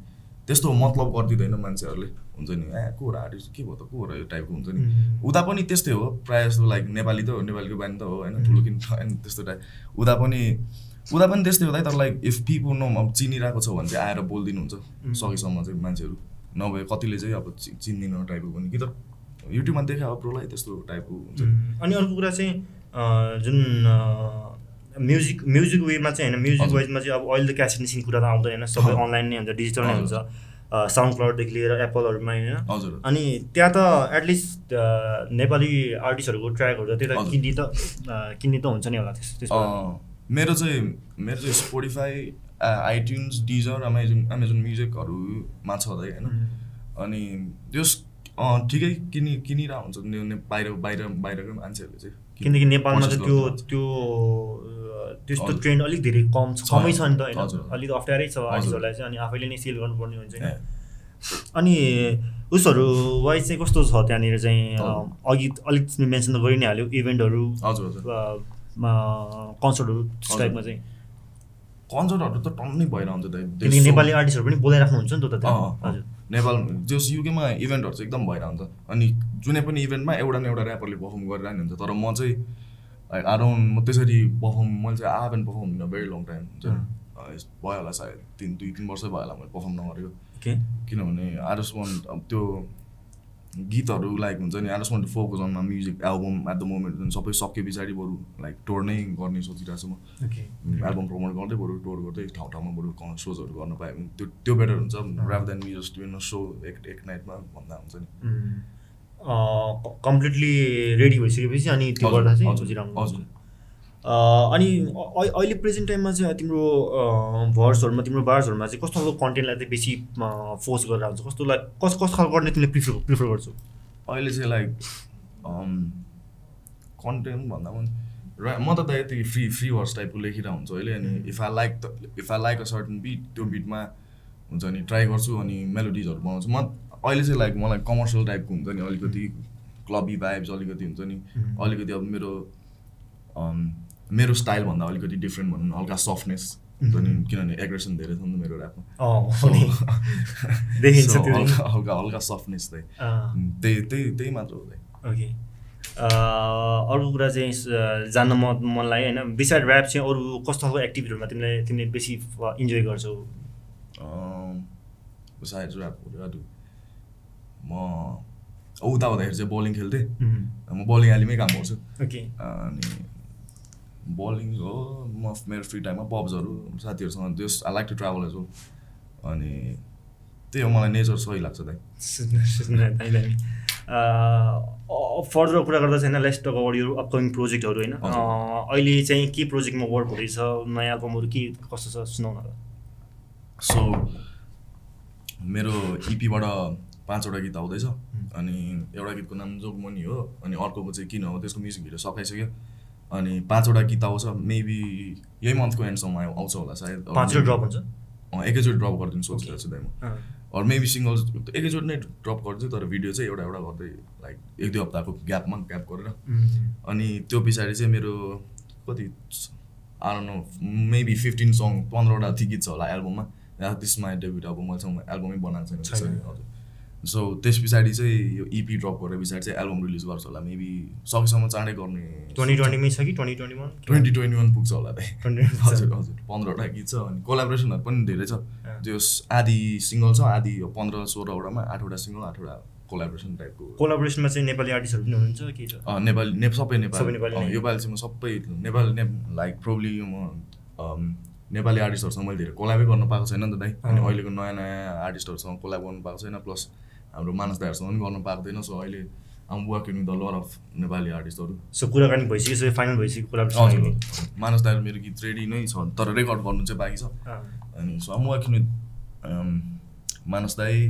A: त्यस्तो मतलब गरिदिँदैन मान्छेहरूले हुन्छ नि ए को हो र आर्टिस्ट के भयो त को हो र यो टाइपको हुन्छ नि उता पनि त्यस्तै हो प्रायः जस्तो लाइक नेपाली त हो नेपालीको बानी त हो होइन ठुलो किन होइन त्यस्तो टाइप उता पनि उता पनि त्यस्तै होला है तर लाइक इफ पिपल नो अब चिनिरहेको छ भने चाहिँ आएर बोलिदिनु हुन्छ सकेसम्म चाहिँ मान्छेहरू नभए कतिले चाहिँ अब चि- चिन्दिनँ टाइपको पनि कि त युट्युबमा देखा अब प्रोलाई त्यस्तो टाइपको हुन्छ नि।
C: अनि अर्को कुरा चाहिँ अ, जुन म्युजिक म्युजिक वेमा चाहिँ होइन म्युजिक
A: हजुर।
C: वाइजमा चाहिँ अब अहिले त क्यासेट निस्किने कुरा त आउँदैन होइन सबै
A: हजुर।
C: अनलाइन नै हुन्छ डिजिटल नै
A: हजुर।
C: हुन्छ साउन्ड क्लाउडदेखि लिएर एप्पलहरूमा होइन
A: हजुर
C: अनि त्यहाँ त एटलिस्ट नेपाली आर्टिस्टहरूको ट्र्याकहरू त त्यता
A: हजुर।
C: किन्ने त अ, किन्ने त हुन्छ नि होला त्यस त्यसमा
A: अँ, मेरो चाहिँ मेरो चाहिँ Spotify iTunes Deezer Amazon Amazon म्युजिकहरूमा छ है होइन अनि त्यो ठिकै किनि किनिरहेको हुन्छ ने- ने- बाहिर बाहिर बाहिरको मान्छेहरूले चाहिँ
C: किनकि नेपालमा
A: purchase
C: त त्यो
A: गर्नुहुन्छ।
C: त्यो अ, त्यस्तो
A: हजुर।
C: ट्रेन्ड अलिक धेरै कम छ
A: छ।
C: कमै छ नि त
A: हजुर।
C: होइन अलिक अप्ठ्यारै छ
A: हजुर।
C: आर्टिस्टहरूलाई चाहिँ अनि आफैले नै सेल गर्नुपर्ने हुन्छ नि
A: ए,
C: अनि उसहरू वाइज चाहिँ कस्तो छ त्यहाँनिर चाहिँ अ,
A: हजुर।
C: अघि अलिक मेन्सन त गरि नै हाल्यो इभेन्टहरू
A: हजुर हजुर
C: अ, म- कन्सर्टहरू त्यस
A: हजुर।
C: टाइपमा चाहिँ
A: कन्सर्टहरू त टन्नै भएर हुन्छ त
C: किनकि नेपाली आर्टिस्टहरू पनि बोलाइराख्नुहुन्छ नि त त
A: अँ, अँ,
C: हजुर
A: नेपाल जस युकेमा इभेन्टहरू चाहिँ एकदम भइरहेको हुन्छ अनि जुनै पनि इभेन्टमा एउटा न एउटा ऱ्यापरले पर्फर्म गरिरहने हुन्छ तर म चाहिँ अराउन्ड म त्यसरी पर्फर्म मैले चाहिँ I haven't perform in a very long time हुन्छ नि। अँ, यस- भयो होला सायद तिन दुई तिन वर्षै भयो होला मैले पर्फर्म नगरेको
C: ओके
A: किनभने आई जस्ट वान्ट अब त्यो गीतहरू लाइक हुन्छ नि I just want to focus on my music album at the moment जुन सबै सके पछाडि बरु लाइक टोर नै गर्ने सोचिरहेको छु म
C: ओके
A: एल्बम प्रमोट गर्दै बरु टोर गर्दै ठाउँ ठाउँमा बरु कन- सोजहरू गर्न पायो भने त्यो त्यो बेटर हुन्छ रादर देन मी जस्ट युन सो एक एक नाइटमा भन्दा हुन्छ नि
C: कम्प्लिटली रेडी भइसकेपछि अनि त्यो
A: हजुर,
C: गर्दा चाहिँ
A: हजुर,
C: सोचिरहनु
A: हजुर।
C: अ, अनि अ- अ- अहिले प्रेजेन्ट टाइममा चाहिँ तिम्रो भर्सहरूमा तिम्रो बार्सहरूमा चाहिँ कस्तो खालको कन्टेन्टलाई चाहिँ बेसी फोर्स गरेर हुन्छ कस्तोलाई कस कस्तो खालको कन्टेन्ट तिमीले प्रिफर प्रिफर गर्छौ
A: अहिले चाहिँ लाइक कन्टेन्ट भन्दा पनि र म त त यति फ्री फ्री वर्स टाइपको लेखिरहेको हुन्छु अहिले अनि
C: Mm.
A: If I like if I like a certain beat त्यो बिटमा हुन्छ नि ट्राई गर्छु अनि मेलोडिजहरू बनाउँछु म अहिले चाहिँ लाइक मलाई कमर्सियल टाइपको हुन्छ नि अलिकति
C: Mm.
A: क्लबी भाइब्स अलिकति हुन्छ नि अलिकति अब मेरो अम, मेरो स्टाइलभन्दा अलिकति डिफ्रेन्ट भनौँ न हल्का सफ्टनेस हुन्छ नि किनभने एग्रेसन धेरै छ नि त मेरो ऱ्यापमा
C: अँ Mm. हो नि। देखिन्छ
A: सो
C: त्यो नि।
A: हल्का हल्का हल्का सफ्टनेस चाहिँ
C: अँ,
A: त्यही त्यही त्यही मात्र हो चाहिँ
C: ओके अ, अर्को Uh, कुरा चाहिँ स- जान्न मन मन लाग्यो होइन बिसाइड ऱ्याप चाहिँ अरू कस्तो खालको एक्टिभिटीहरूमा तिमीले तिमीले बेसी इन्जोय गर्छौ
A: Um, besides rap, what do I do? म औ उता हुँदाखेरि चाहिँ बलिङ खेल्थेँ म बलिङ एलीमै काम गर्छु
C: ओके
A: अनि बलिङ हो म मेरो फ्री टाइममा पब्सहरू साथीहरूसँग just I like to travel as well अनि त्यही हो मलाई नेचर सही लाग्छ दाइ
C: फर्दर Uh, कुरा गर्दा चाहिँ होइन लेट्स टक अबाउट यो अपकमिङ प्रोजेक्टहरू होइन
A: हजुर।
C: अ, अहिले चाहिँ के प्रोजेक्टमा वर्क हुँदैछ नयाँ एल्बमहरू के कस्तो छ सुनाउन होला
A: सो मेरो इपीबाट पाँचवटा गीत आउँदैछ अनि एउटा गीतको नाम जोगमनी हो अनि अर्कोको चाहिँ किन हो त्यसको म्युजिक भिडियो सकाइसक्यो अनि पाँचवटा गीत आउँछ मेबी यही मन्थको एन्डसम्म आउ- आउँछ होला सायद Or
C: पाँचवटा
A: maybe-
C: ड्रप हुन्छ
A: अँ, एकैचोटि ड्रप गरिदिनु सोचिरहेको छु दाइ म
C: अँ,
A: अरू मेबी सिङ्गल्स एकैचोटि नै ड्रप गरिदिन्छु तर भिडियो चाहिँ एउटा एउटा गर्दै लाइक एक दुई हप्ताको ग्यापमा ग्याप गरेर अनि त्यो पछाडि चाहिँ मेरो कति आउनु मेबी फिफ्टिन सङ पन्ध्रवटा ती गीत छ होला एल्बममा त्यसमा डेब्युट अब मसँग एल्बमै बनाएको छैन त्यसरी,
C: छैन।
A: हजुर सो त्यस पछाडि चाहिँ यो इपी ड्रप गरेर पछाडि चाहिँ एल्बम रिलिज गर्छ होला मेबी सकेसम्म चाँडै गर्ने
C: ट्वेन्टी ट्वेन्टीमै छ कि twenty twenty one
A: twenty twenty one पुग्छ होला त्यही हजुर
C: ट्वेन्टी
A: हजुर पन्ध्रवटा गीत छ अनि कोलाबोरेसनहरू पनि धेरै छ
C: अँ।
A: त्यो आधी सिङ्गल छ आधी यो पन्ध्र सोह्रवटामा आठवटा सिङ्गल आठवटा कोलाबोरेसन टाइपको
C: कोलाबोरेसनमा चाहिँ नेपाली आर्टिस्टहरू पनि हुनुहुन्छ कि छ
A: अँ, नेपाली नेप सबै नेपाली
C: सबै नेपाली
A: अँ,
C: नै।
A: योपालि चाहिँ म सबै नेपाली ने लाइक प्रब्ली म अम, नेपाली आर्टिस्टहरूसँग मैले धेरै कोलाबै गर्न पाएको छैन नि त दाइ अनि
C: अँ।
A: अहिलेको नयाँ नयाँ आर्टिस्टहरूसँग कोलाब गर्नु पाएको छैन प्लस हाम्रो मानस दाहरूसँग पनि गर्न पाएको थिएन सो अहिले I'm working with a lot of Nepali आर्टिस्टहरू
C: सो कुराकानी भइसक्यो सो फाइनल भइसक्यो
A: हजुर
C: कोलाबरेसन
A: मानस दाइको मेरो गीत रेडी नै छ तर रेकर्ड गर्नु चाहिँ बाँकी छ अनि so I'm working with Manas dai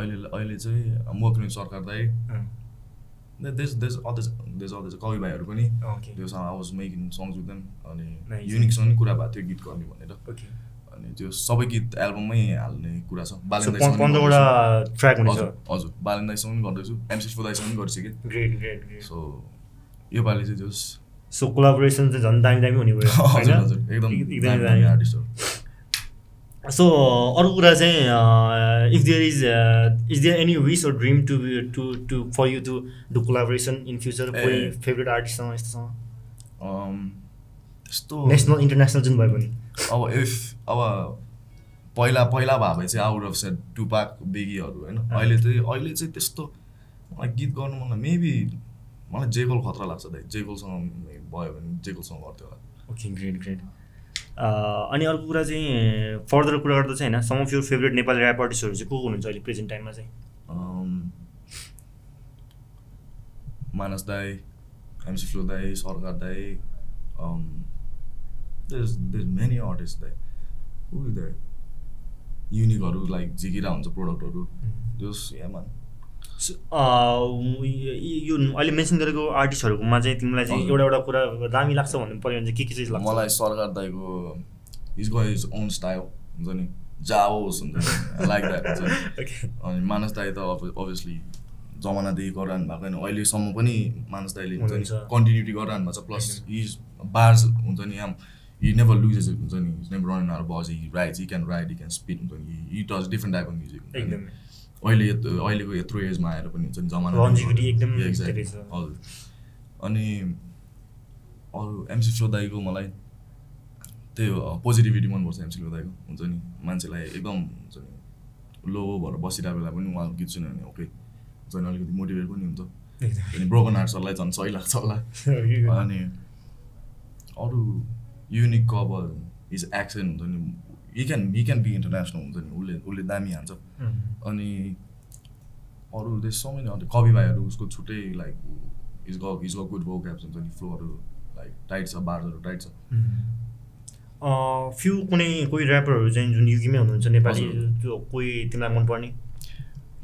A: अहिले अहिले चाहिँ I'm working with Sarkar dai देश देश अझै देश अझै कवि भाइहरू पनि
C: ओके
A: त्यो सँग आवाज मेकिङ सङ्ग्स विथ देम अनि
C: Nice.
A: युनिकसँग नि कुरा भएको थियो गीत गर्ने भनेर
C: ओके
A: अनि त्यो सबै गीत एल्बममै हाल्ने कुरा छ
C: सो
A: बालन दाइसँग पनि
C: पन्ध्रवटा ट्र्याक
A: गर्दैछु।
C: हुनेछ
A: हजुर हजुर बालन दाइसँग पनि गर्दैछु एमसी दाइसँग पनि गरिसकेँ
C: ग्रेट ग्रेट ग्रेट
A: सो योपालि चाहिँ जोस्
C: सो कोलाबोरेसन चाहिँ झन् दामी दामी हुने भयो
A: हजुर हजुर
C: होइन?
A: एकदम
C: एकदमै
A: दामी दामी
C: दामी
A: आर्टिस्टहरू
C: सो अर्को कुरा चाहिँ if there is is there any wish or dream to to to for you to do collaboration in future
A: ए।
C: कोही फेभरेट आर्टिस्टसँग यस्तोसँग
A: अम, त्यस्तो
C: नेसनल इन्टरनेसनल जुन भयो भने
A: अब इफ अब पहिला पहिला भए भए चाहिँ आउट अफ सेट टुपाक बेगीहरू होइन अहिले चाहिँ अहिले चाहिँ त्यस्तो मलाई गीत गर्नु मलाई मेबी मलाई जेगोल खतरा लाग्छ दाइ जेगोलसँग भयो भने जेगोलसँग गर्थ्यो होला
C: ओके ग्रेट ग्रेट अनि अर्को कुरा चाहिँ फर्दर कुरा गर्दा चाहिँ होइन some of your favourite Nepali rap आर्टिस्टहरू चाहिँ को को हुनुहुन्छ अहिले प्रेजेन्ट टाइममा चाहिँ
A: अम्, मानस दाई एमसी फ्लो दाई सरकार दाई देस देस मेनी आर्टिस्ट दाई ऊ दाई युनिकहरू लाइक झिकिरा हुन्छ प्रोडक्टहरू जस यामा
C: So, अ, य- यो अहिले मेन्सन गरेको आर्टिस्टहरूकोमा चाहिँ तिमीलाई चाहिँ
A: हजुर।
C: एउटा एउटा कुरा दामी लाग्छ भन्नु पऱ्यो भने चाहिँ के के चिज लाग्छ
A: मलाई सरकार दाईको his go his own style हुन्छ नि जाओस् हुन्छ नि लाइक द्याट हुन्छ नि
C: ओके
A: अनि मानस दाई त अब अभियसली जमानादेखि गरिरहनु भएको होइन अहिलेसम्म पनि मानस दाईले हुन्छ नि
C: हुनुहुन्छ।
A: कन्टिन्युटी गरिरहनु भएको छ प्लस इज बार्स हुन्छ नि आम हि नेभर लुजेस हुन्छ नि never run our bars he write he can write he can speed हुन्छ नि he touch different type of music
C: एकदमै
A: अहिले यत- अहिलेको यत्रो एजमा आएर पनि हुन्छ नि जमाना
C: Longevity एकदम
A: Yeah, exactly.
C: धेरै छ।
A: हजुर अनि अरू एमसी दाईको मलाई त्यही हो पोजिटिभिटी मनपर्छ एमसी दाईको हुन्छ नि मान्छेलाई एकदम हुन्छ नि लो भएर बसिरहेको बेला पनि उहाँको गीत सुन्यो भने ओके हुन्छ नि अलिकति मोटिभेट पनि हुन्छ
C: एकदमै
A: अनि ब्रोकन आर्ट्सहरूलाई झन् सही लाग्छ होला अनि अरू युनिक अब इज एक्सेन्ट हुन्छ नि he can he can be international हुन्छ नि उसले उसले दामी हान्छ
C: Mm.
A: अनि अरू देश सो मेनी अन्त कवि भाइहरू उसको छुट्टै लाइक इज ग इज ग गुड भोक्याप्स हुन्छ नि फ्लोहरू लाइक टाइट छ बार्सहरू टाइट छ
C: Mm. फ्यु कुनै कोही ऱ्यापरहरू चाहिँ जुन युगीमै हुनुहुन्छ नेपाली
A: हजुर।
C: जो कोही तिमीलाई मनपर्ने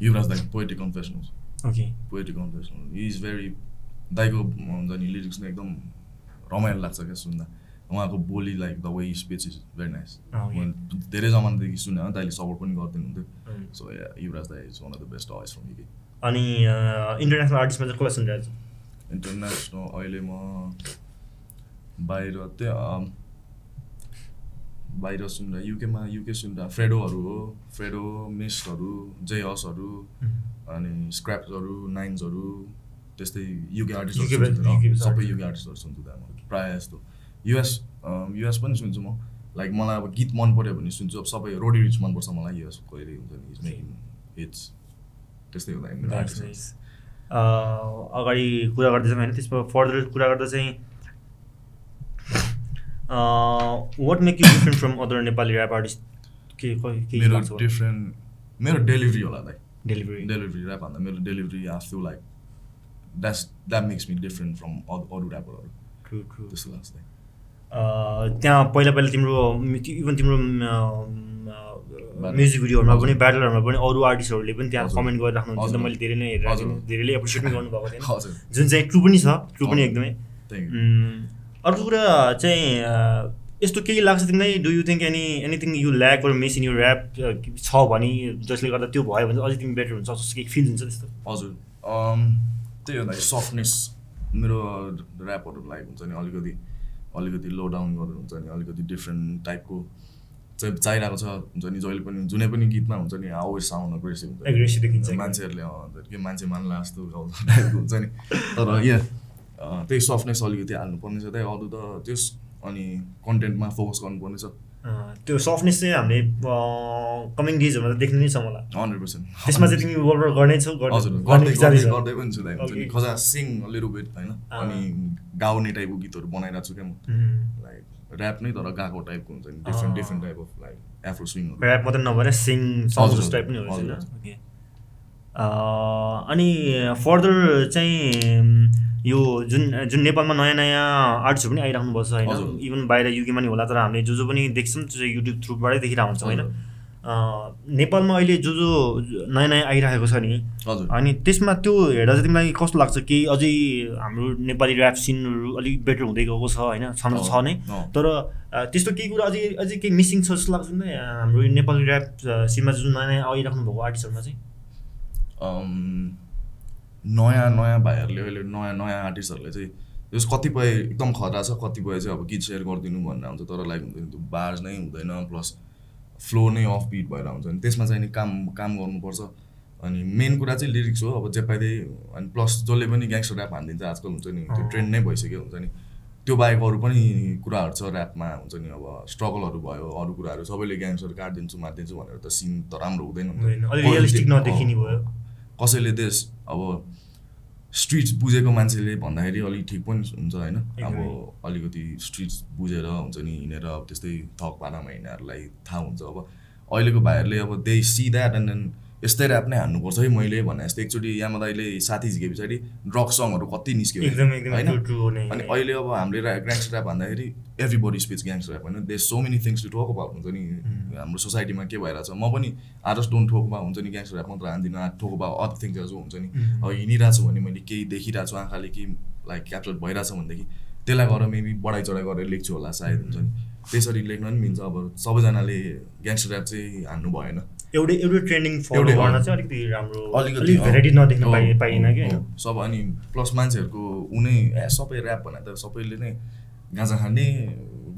A: युवराज दाइको poetic confessional
C: okay
A: poetic confessional is very दाइको हुन्छ नि लिरिक्स नै एकदम रमाइलो लाग्छ क्या सुन्दा उहाँको बोली like the way speech is very nice
C: अँ, okay.
A: धेरै जमानादेखि सुने हो, दाइले सपोर्ट पनि गरिदिनु हुन्थ्यो so yeah Yuvraj dai is one of the best voice from UK
C: अनि
B: uh,
C: इन्टरनेसनल आर्टिस्टमा चाहिँ कसलाई सुनिरहेको छ
A: इन्टरनेसनल अहिले म बाहिर त्यो अम, बाहिर सुन्दा युकेमा युके सुन्दा फ्रेडोहरू हो फ्रेडो मिस्टहरू जेहसहरू
C: Mm.
A: अनि स्क्रैप्सहरू नाइन्सहरू त्यस्तै युके आर्टिस्टहरू सुन्छु
C: UK UK
A: त,
C: based
A: सबै
C: artist।
A: युके आर्टिस्टहरू सुन्छु त म प्रायः जस्तो युएस अम, युएस पनि सुन्छु म लाइक मलाई अब गीत मन पऱ्यो भने सुन्छु अब सबै रोडी रिच मनपर्छ मलाई युएस कहिले हुन्छ नि इज मेकिङ हिट्स त्यस्तै होला हाम्रो
C: Nice,
A: artistहरू।
C: nice. अ,
B: Uh,
C: अगाडि कुरा गर्दैछौँ होइन त्यसमा फर्दर कुरा गर्दा चाहिँ
B: Uh,
C: what make you different from other Nepali rap artist के क- के
A: मेरो
C: लाग्छ?
A: डिफ्रेन्ट मेरो डेलिभरी होला दाइ
C: डेलिभरी
A: डेलिभरी ऱ्याप भन्दा मेरो delivery I feel like that's that makes me different from अरू ऱ्यापरहरू
C: ट्रु ट्रु
A: त्यस्तो लाग्छ दाइ
C: त्यहाँ पहिला पहिला तिम्रो इभन तिम्रो
A: Battle.
C: म्युजिक भिडियोहरूमा पनि
A: हजुर।
C: ब्याटलहरूमा पनि अरू आर्टिस्टहरूले पनि त्यहाँ
A: हजुर।
C: कमेन्ट गरिराख्नुहुन्छ
A: हजुर।
C: मैले धेरै नै हेरेर
A: हजुर।
C: धेरैले एप्रिसिएट पनि गर्नुभएको थिएन
A: हजुर
C: जुन चाहिँ ट्रु पनि छ ट्रु पनि
A: हजुर।
C: एकदमै
A: थ्याङ्क यू
C: उम्, अर्को कुरा चाहिँ अँ, यस्तो केही लाग्छ तिमीलाई do you think any anything you lack or miss in you rap छ भने जसले गर्दा त्यो भयो भने अझै तिमी बेटर हुन्छ जस्तो केही फिल हुन्छ त्यस्तो
A: हजुर अम, त्यही हो दाइ सफ्टनेस मेरो ऱ्यापहरू लाइक हुन्छ नि अलिकति अलिकति लो डाउन गरेर हुन्छ नि अलिकति डिफ्रेन्ट टाइपको चाहिँ चाहिरहेको छ हुन्छ नि जहिले पनि जुनै पनि गीतमा हुन्छ नि आवर साउन्ड अग्रेसिभ हुन्छ नि।
C: एग्रेसिभ देखिन्छ
A: मान्छेहरूले अँ, अन्त के मान्छे मान्ला जस्तो गाउँदा टाइपको हुन्छ नि तर यहाँ त्यही सफ्टनेस अलिकति हाल्नुपर्ने छ त्यही अरू त त्यस अनि कन्टेन्टमा फोकस गर्नुपर्ने छ
C: अँ, त्यो सफ्टनेस चाहिँ हामीले कमिङ डेजहरूमा त देख्ने नै छ मलाई
A: हन्ड्रेड पर्सेन्ट
C: त्यसमा चाहिँ तिमी वर्क गर्नै छौ
A: हजुर
C: गर्ने- गर्ने
A: गर्दै
C: विचारै
A: गर्दै
C: छ?
A: गर्दै पनि छु दाइ हुन्छ नि
C: Okay.
A: खजा सिङ लिटल बिट होइन
C: अँ।
A: अनि गाउने टाइपको गीतहरू बनाइरहेको छु क्या म
C: उम्,
A: लाइक ऱ्याप नै तर गाएको टाइपको हुन्छ नि डिफ्रेन्ट
C: अँ।
A: Different type of like afro स्विङहरू
C: ऱ्याप मात्रै नभएर सिङ सङ्ग्सहरू
A: हजुर,
C: टाइप पनि हो
A: हजुर।
C: ओके
B: अ, अनि फर्दर चाहिँ यो जुन जुन नेपालमा नयाँ नयाँ आर्ट्सहरू पनि आइराख्नुपर्छ होइन
A: हजुर।
B: इभन बाहिर युकेमा नि होला तर हामीले जो जो पनि देख्छौँ त्यो चाहिँ युट्युब थ्रुबाटै देखिरहेको हुन्छौँ होइन अ, नेपालमा अहिले जो जो नयाँ नयाँ आइरहेको छ नि
A: हजुर
B: अनि त्यसमा त्यो हेर्दा चाहिँ तिमीलाई कस्तो लाग्छ कि अझै हाम्रो नेपाली ऱ्याप सिनहरू अलिक बेटर हुँदै गएको छ होइन छन
A: अँ,
B: छ नै
A: अँ।
B: तर अ, त्यस्तो केही कुरा अझै अझै केही मिसिङ छ जस्तो लाग्छ नि त, अ, हाम्रो यो नेपाली ऱ्याप अ, सिनमा जुन नयाँ नयाँ आइराख्नु भएको आर्टिस्टहरूमा चाहिँ
A: अम्, नयाँ नयाँ भाइहरूले अहिले नयाँ नयाँ आर्टिस्टहरूले चाहिँ जस कतिपय एकदम खतरा छ कतिपय चाहिँ अब गीत सेयर गरिदिनु भन्ने हुन्छ तर लाइक हुँदैन त्यो बार्ज नै हुँदैन प्लस फ्लो नै अफ बिट भएर हुन्छ अनि त्यसमा चाहिँ नि काम काम गर्नुपर्छ अनि मेन कुरा चाहिँ लिरिक्स हो अब जे पाइदै अनि प्लस जसले पनि ग्याङ्स्टर ऱ्याप हानिदिन्छ आजकल हुन्छ नि त्यो ट्रेन्ड नै भइसक्यो हुन्छ नि त्यो बाहेक अरू पनि कुराहरू छ ऱ्यापमा हुन्छ नि अब स्ट्रगलहरू भयो अरू कुराहरू सबैले ग्याङ्स्टर काटिदिन्छु मारिदिन्छु भनेर त सिन त राम्रो हुँदैन नि त।
B: अलिक रियलिस्टिक
A: अँ।
B: नदेखिने भयो
A: कसैले देश अब स्ट्रिट्स बुझेको मान्छेले भन्दाखेरि अलिक ठिक पनि हुन्छ होइन अब
B: एकदमै।
A: अलिकति स्ट्रिट्स बुझेर हुन्छ नि हिँडेर अब त्यस्तै थक भाँडामा हिँड्नेहरूलाई थाहा हुन्छ अब अहिलेको भाइहरूले अब they see that and then यस्तै ऱ्याप नै हान्नुपर्छ है मैले भने जस्तै एकचोटि यामा दाइले साथी झिके पछाडि ड्रग सङहरू कति निस्क्यो
B: एकदम एकदम
A: होइन?
B: true- true हो नै।
A: अनि अहिले अब हामीले रा- ग्याङ्स्टर ऱ्याप भन्दाखेरि everybody speech gangster rap होइन they so many things to talk about हुन्छ नि हाम्रो सोसाइटीमा के भइरहेको छ म पनि आर जस्ट डोन्ट ठोक भए हुन्छ नि ग्याङ्स्टर ऱ्याप मात्र हान्दिनँ ठोक भए अरू थिङ्सहरू जो हुन्छ नि
B: Mm.
A: अब हिँडिरहेको छु भने मैले केही देखिरहेको छु आँखाले केही लाइक क्याप्चर भइरहेछ भनेदेखि त्यसलाई गएर मेबी बढाइ चढाइ गरेर लेख्छु होला सायद हुन्छ नि त्यसरी लेख्न पनि मिल्छ अब सबैजनाले ग्याङ्स्टर ऱ्याप चाहिँ हान्नु भएन
B: एउटै एउटै ट्रेन्डिङ फलो
A: एउटै,
B: गर्न
A: अँ।
B: चाहिँ अलिकति राम्रो
A: अलिकति,
B: अलिक
A: अँ।
B: भेराइटी नदेख्न
A: अँ,
B: पाइ पाइएन
A: अँ,
B: कि होइन
A: अँ, सब अनि प्लस मान्छेहरूको उनै ए सबै ऱ्याप भने त सबैले नै गाँजा खाने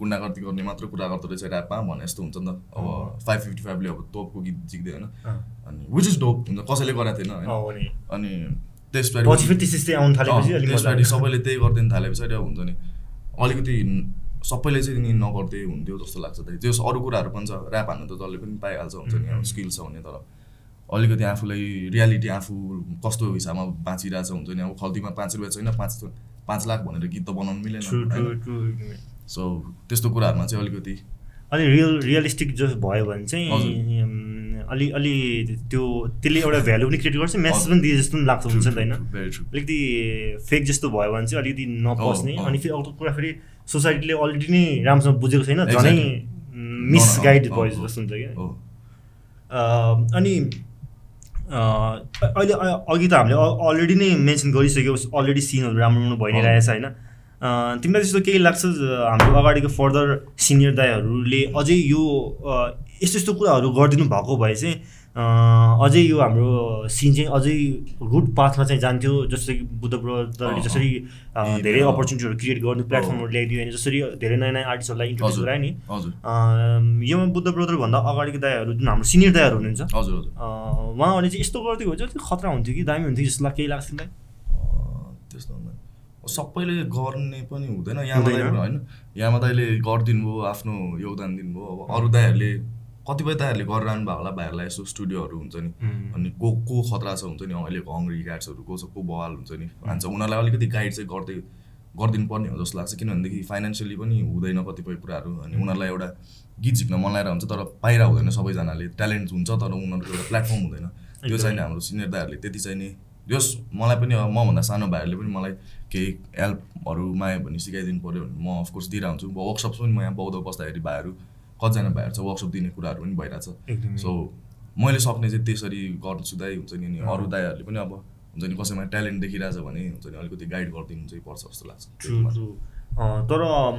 A: गुन्डागर्दी गर्ने मात्र कुरा गर्दो रहेछ ऱ्यापमा भने जस्तो हुन्छ नि त अब फाइभ फिफ्टी फाइभले अब तोपको गीत जिक्दै होइन
B: अँ।
A: अनि विच इज डोप हुन्छ कसैले गरेको थिएन
B: अँ,
A: होइन
B: हो नि
A: अनि त्यसपछि
B: पछि फेरि त्यस्तै त्यस्तै आउनु थालेपछि अलिक मजा
A: त्यसपछि
B: आयो।
A: सबैले त्यही गरिदिनु थाले पछाडि अब हुन्छ नि अलिकति न- सबैले चाहिँ नि नगर्दै हुन्थ्यो जस्तो लाग्छ त त्यो अरू कुराहरू पनि छ ऱ्याप हान्नु त जसले पनि पाइहाल्छ हुन्छ नि अब स्किल छ भने तर अलिकति आफूलाई रियालिटी आफू कस्तो हिसाबमा बाँचिरहेछ हुन्छ नि अब खल्तीमा पाँच रुपियाँ छैन पाँच पाँच लाख भनेर गीत त बनाउनु मिलेन
B: True-
A: होइन?
B: true- true, एकदमै।
A: सो त्यस्तो कुराहरूमा चाहिँ अलिकति
B: अलि रियल रियलिस्टिक जो भयो
A: हजुर।
B: भने चाहिँ अम्, अलि अलि त्यो त्यसले एउटा भ्यालु पनि क्रिएट गर्छ म्यासेज पनि दिए जस्तो पनि लाग्छ हुन्छ नि त होइन
A: भेरी ट्रु
B: अलिकति फेक जस्तो भयो भने चाहिँ अलिकति नपस्ने
A: अँ, अँ।
B: अनि फेरि अर्को कुरा फेरि सोसाइटीले अलरेडी नै राम्रोसँग बुझेको छैन झनै
A: Exactly.
B: मिसगाइड
A: अँ, अँ,
B: भयो
A: अँ,
B: जस्तो हुन्छ क्या
A: हो
B: अम, अनि अ, अहिले अ- अघि त हामीले अलरेडी नै मेन्सन गरिसक्यौँ अलरेडी सिनहरू राम्रो राम्रो भइ नै रहेछ होइन अ, तिमीलाई त्यस्तो केही लाग्छ ज- हाम्रो अगाडिको फर्दर सिनियर दाईहरूले अझै यो अ, यस्तो यस्तो कुराहरू गरिदिनु भएको भए चाहिँ अ, अझै यो हाम्रो सिन चाहिँ अझै गुड पाथमा चाहिँ जान्थ्यो जस्तै कि बुद्ध ब्रदरले
A: अँ,
B: जसरी अ,
A: अँ।
B: धेरै
A: अँ।
B: अपर्च्युनिटीहरू क्रिएट गर्नु प्लेटफर्महरू ल्याइदियो होइन जसरी धेरै नयाँ नयाँ आर्टिस्टहरूलाई इन्ट्रोड्युस
A: हजुर
B: गरायो नि
A: हजुर
B: अम, यो बुद्ध ब्रदरभन्दा अगाडिको दायाहरू जुन हाम्रो सिनियर दायाहरू हुनुहुन्छ
A: हजुर हजुर
B: अ, उहाँहरूले चाहिँ यस्तो गरिदियो भने चाहिँ अलिक खतरा हुन्थ्यो कि दामी हुन्थ्यो जस्तो लाग्छ केही लाग्छ तिमीलाई
A: अँ, त्यस्तो हुँदैन सबैले गर्ने पनि हुँदैन
B: हुँदैन।
A: दाइले होइन यामा दाइले गरिदिनु भयो आफ्नो योगदान दिनुभयो अब अरू दाइहरूले कतिपय दाइहरूले गरिरहनु भएको होला भाइहरूलाई यसो स्टुडियोहरू हुन्छ नि
B: Mm.
A: अनि को को खतरा छ हुन्छ नि अहिलेको हङ्ग्री क्याट्सहरू को छ को बवाल हुन्छ नि भन्छ उनीहरूलाई अलिकति गाइड चाहिँ गर्दै गरिदिनु पर्ने हो जस्तो लाग्छ किनभनेदेखि फाइनेन्सियली पनि हुँदैन कतिपय कुराहरू अनि उनीहरूलाई एउटा गीत झिक्न मन लागेर हुन्छ तर पाइरहेको हुँदैन सबैजनाले ट्यालेन्ट हुन्छ तर उनीहरूको एउटा प्लेटफर्म हुँदैन त्यो चाहिँ नि हाम्रो सिनियर दाहरूले त्यति चाहिँ नि यस मलाई पनि अब मभन्दा सानो भाइहरूले पनि मलाई केही हेल्पहरू मायो भने सिकाइदिनु पऱ्यो भने म अफकोर्स दिइरहन्छु हुन्छु वर्कसप पनि म यहाँ बौद्ध बस्दाखेरि भाइहरू कतिजना भाइहरू छ वर्कसप दिने कुराहरू पनि भइरहेछ
B: एकदमै।
A: सो मैले सक्ने चाहिँ त्यसरी गर्छु दाइ हुन्छ नि अनि
B: Mm.
A: अरू दाइहरूले पनि अब हुन्छ नि कसैमा ट्यालेन्ट देखिरहेछ भने हुन्छ नि अलिकति गाइड गरिदिनु चाहिँ पर्छ जस्तो लाग्छ
B: ट्रु ट्रु तर अम,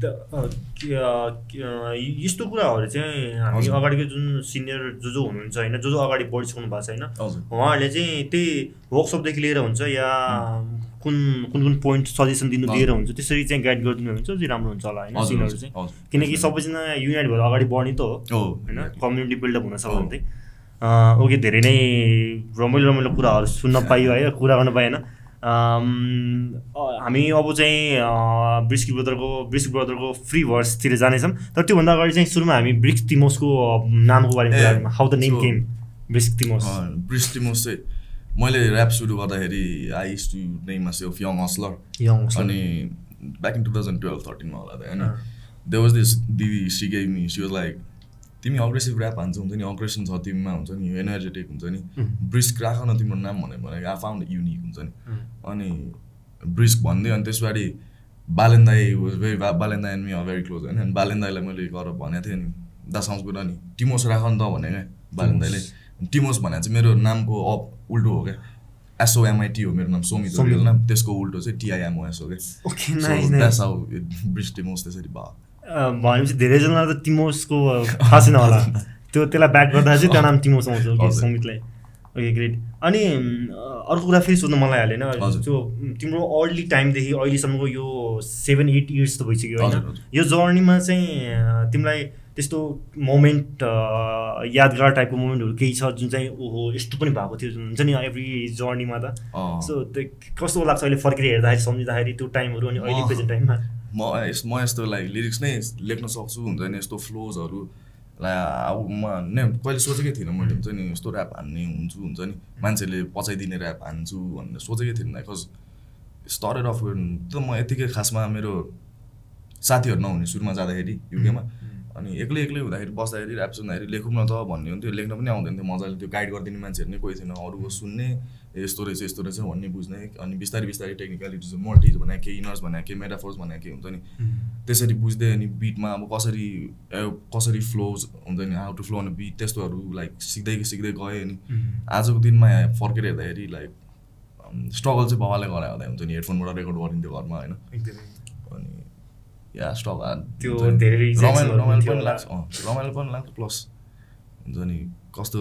B: त- अ, के- अ, के- अ, यस्तो कुराहरू चाहिँ हामी
A: हजुर।
B: अगाडिको जुन सिनियर जो जो हुनुहुन्छ होइन जो जो अगाडि बढिसक्नु भएको छ होइन
A: हजुर
B: उहाँहरूले चाहिँ त्यही वर्कसपदेखि लिएर हुन्छ या कुन कुन कुन पोइन्ट सजेसन दिनु दिएर हुन्छ त्यसरी चाहिँ गाइड गरिदिनु हुन्छ चाहिँ राम्रो हुन्छ होला होइन
A: हजुर,
B: सिनियरहरू
A: हजुर
B: चाहिँ
A: हजुर।
B: किनकि सबैजना युनाइट भएर अगाडि बढ्ने त हो
A: हो
B: होइन कम्युनिटी बिल्डअप हुन सक्यो
A: हो।
B: भने चाहिँ अँ, ओके धेरै नै रमाइलो रमाइलो कुराहरू सुन्न पाइयो है कुरा गर्न पाएन अम्, अ- हामी अब चाहिँ uh, ब्रिस्की ब्रदरको ब्रिस्की ब्रदरको फ्री भर्सतिर जानेछौँ तर त्योभन्दा अगाडि चाहिँ सुरुमा हामी ब्रिक्स तिमोसको अ, नामको बारेमा
A: ए,
B: कुरा गरौँ how the name
A: so-
B: came ब्रिस्क तिमोस
A: Oh. ब्रिस्टिमोस चाहिँ मैले ऱ्याप सुरु गर्दाखेरि I to name us of young hustler
B: young hustler.
A: अनि back in two thousand twelve थर्टिनमा होला त होइन
B: अँ।
A: दे वाज दिस दिदी she game she was like तिमी अग्रेसिभ ऱ्याप हान्छ हुन्छ नि अग्रेसन छ तिमीमा हुन्छ नि एनर्जेटिक हुन्छ नि ब्रिस्क राख न तिम्रो नाम भन्यो भने आई फाउन्ड युनिक हुन्छ नि अनि ब्रिस्क भन्दै अनि त्यसपछाडि बालेन दाई was very Balen dai and me are very close होइन अनि बालेन दाईलाई मैले गरेर भनेको थिएँ नि दासाउँस कुरा नि टिमोस राख नि त भने क्या बालेन दाईले टिमोस भनेर चाहिँ मेरो नामको अप उल्टो हो क्या एसओएमआइटी हो मेरो नाम सोमित
D: सोमित।
A: रियल नाम त्यसको उल्टो चाहिँ टिआइएमओएस हो क्या
D: okay
A: So
D: nice
A: that's
D: nice
A: how it bridged Timos त्यसरी भयो
B: अ, भनेपछि धेरैजना त टिमोसको थाहा छैन होला त्यो त्यसलाई ब्याट गर्दा चाहिँ त्यो नाम टिमोस आउँछ ओके
A: हजुर।
B: सङ्गीतलाई ओके ग्रेट अनि म, अर्को कुरा फेरि सोध्नु मलाई हालेन
A: हजुर।
B: त्यो म, तिम्रो अर्ली टाइमदेखि अहिलेसम्मको यो सेभेन एट इयर्स त भइसक्यो
A: हजुर,
B: होइन
A: हजुर।
B: यो जर्नीमा चाहिँ अ, तिमीलाई त्यस्तो मोमेन्ट यादगार टाइपको मोमेन्टहरू केही छ जुन चाहिँ ओहो यस्तो पनि भएको थियो जुन हुन्छ नि एभ्री जर्नीमा त
A: अँ।
B: सो त्यो कस्तो लाग्छ अहिले फर्केर हेर्दाखेरि सम्झिँदाखेरि त्यो टाइमहरू अनि अहिले
A: अँ।
B: प्रेजेन्ट टाइममा
A: म यस म यस्तो लाइक लिरिक्स नै लेख्न सक्छु हुन्छ नि यस्तो फ्लोजहरू लाई अब म नै कहिले सोचेकै थिइनँ मैले हुन्छ नि यस्तो ऱ्याप हान्ने हुन्छु हुन्छ नि मान्छेले पचाइदिने ऱ्याप हान्छु भनेर सोचेकै थिइनँ बिकज स्टरेड अफ त म यतिकै खासमा मेरो साथीहरू नहुने सुरुमा जाँदाखेरि युकेमा अनि एक्लै एक्लै हुँदाखेरि बस्दाखेरि ऱ्याप सुन्दाखेरि लेखौँ न त भन्ने हुन्थ्यो लेख्न पनि आउँदैन थियो मजाले त्यो गाइड गरिदिने मान्छेहरू नै कोही थिएन अरूको सुन्ने ए, यस्तो रहेछ यस्तो रहेछ भन्ने बुझ्ने अनि बिस्तारै बिस्तारै टेक्निकलिटिज मल्टिज भने के इनर्स भने के मेटाफोर्स भने के हुन्छ नि त्यसरी बुझ्दै अनि बिटमा अब कसरी ए, कसरी फ्लोज हुन्छ नि how to flow on beat त्यस्तोहरू लाइक सिक्दै सिक्दै गएँ अनि आजको दिनमा फर्केर हेर्दाखेरि लाइक स्ट्रगल चाहिँ बाबाले गरायो हुँदा हुन्छ नि हेडफोनबाट रेकर्ड गरिन्थ्यो घरमा होइन
B: एकदमै
A: अनि या स्टक
B: त्यो धेरै
A: रमाइलो
B: rejectsहरू
A: रमाइलो
B: हुन्थ्यो
A: पनि
B: होला।
A: लाग्छ अँ, रमाइलो पनि लाग्छ प्लस हुन्छ नि कस्तो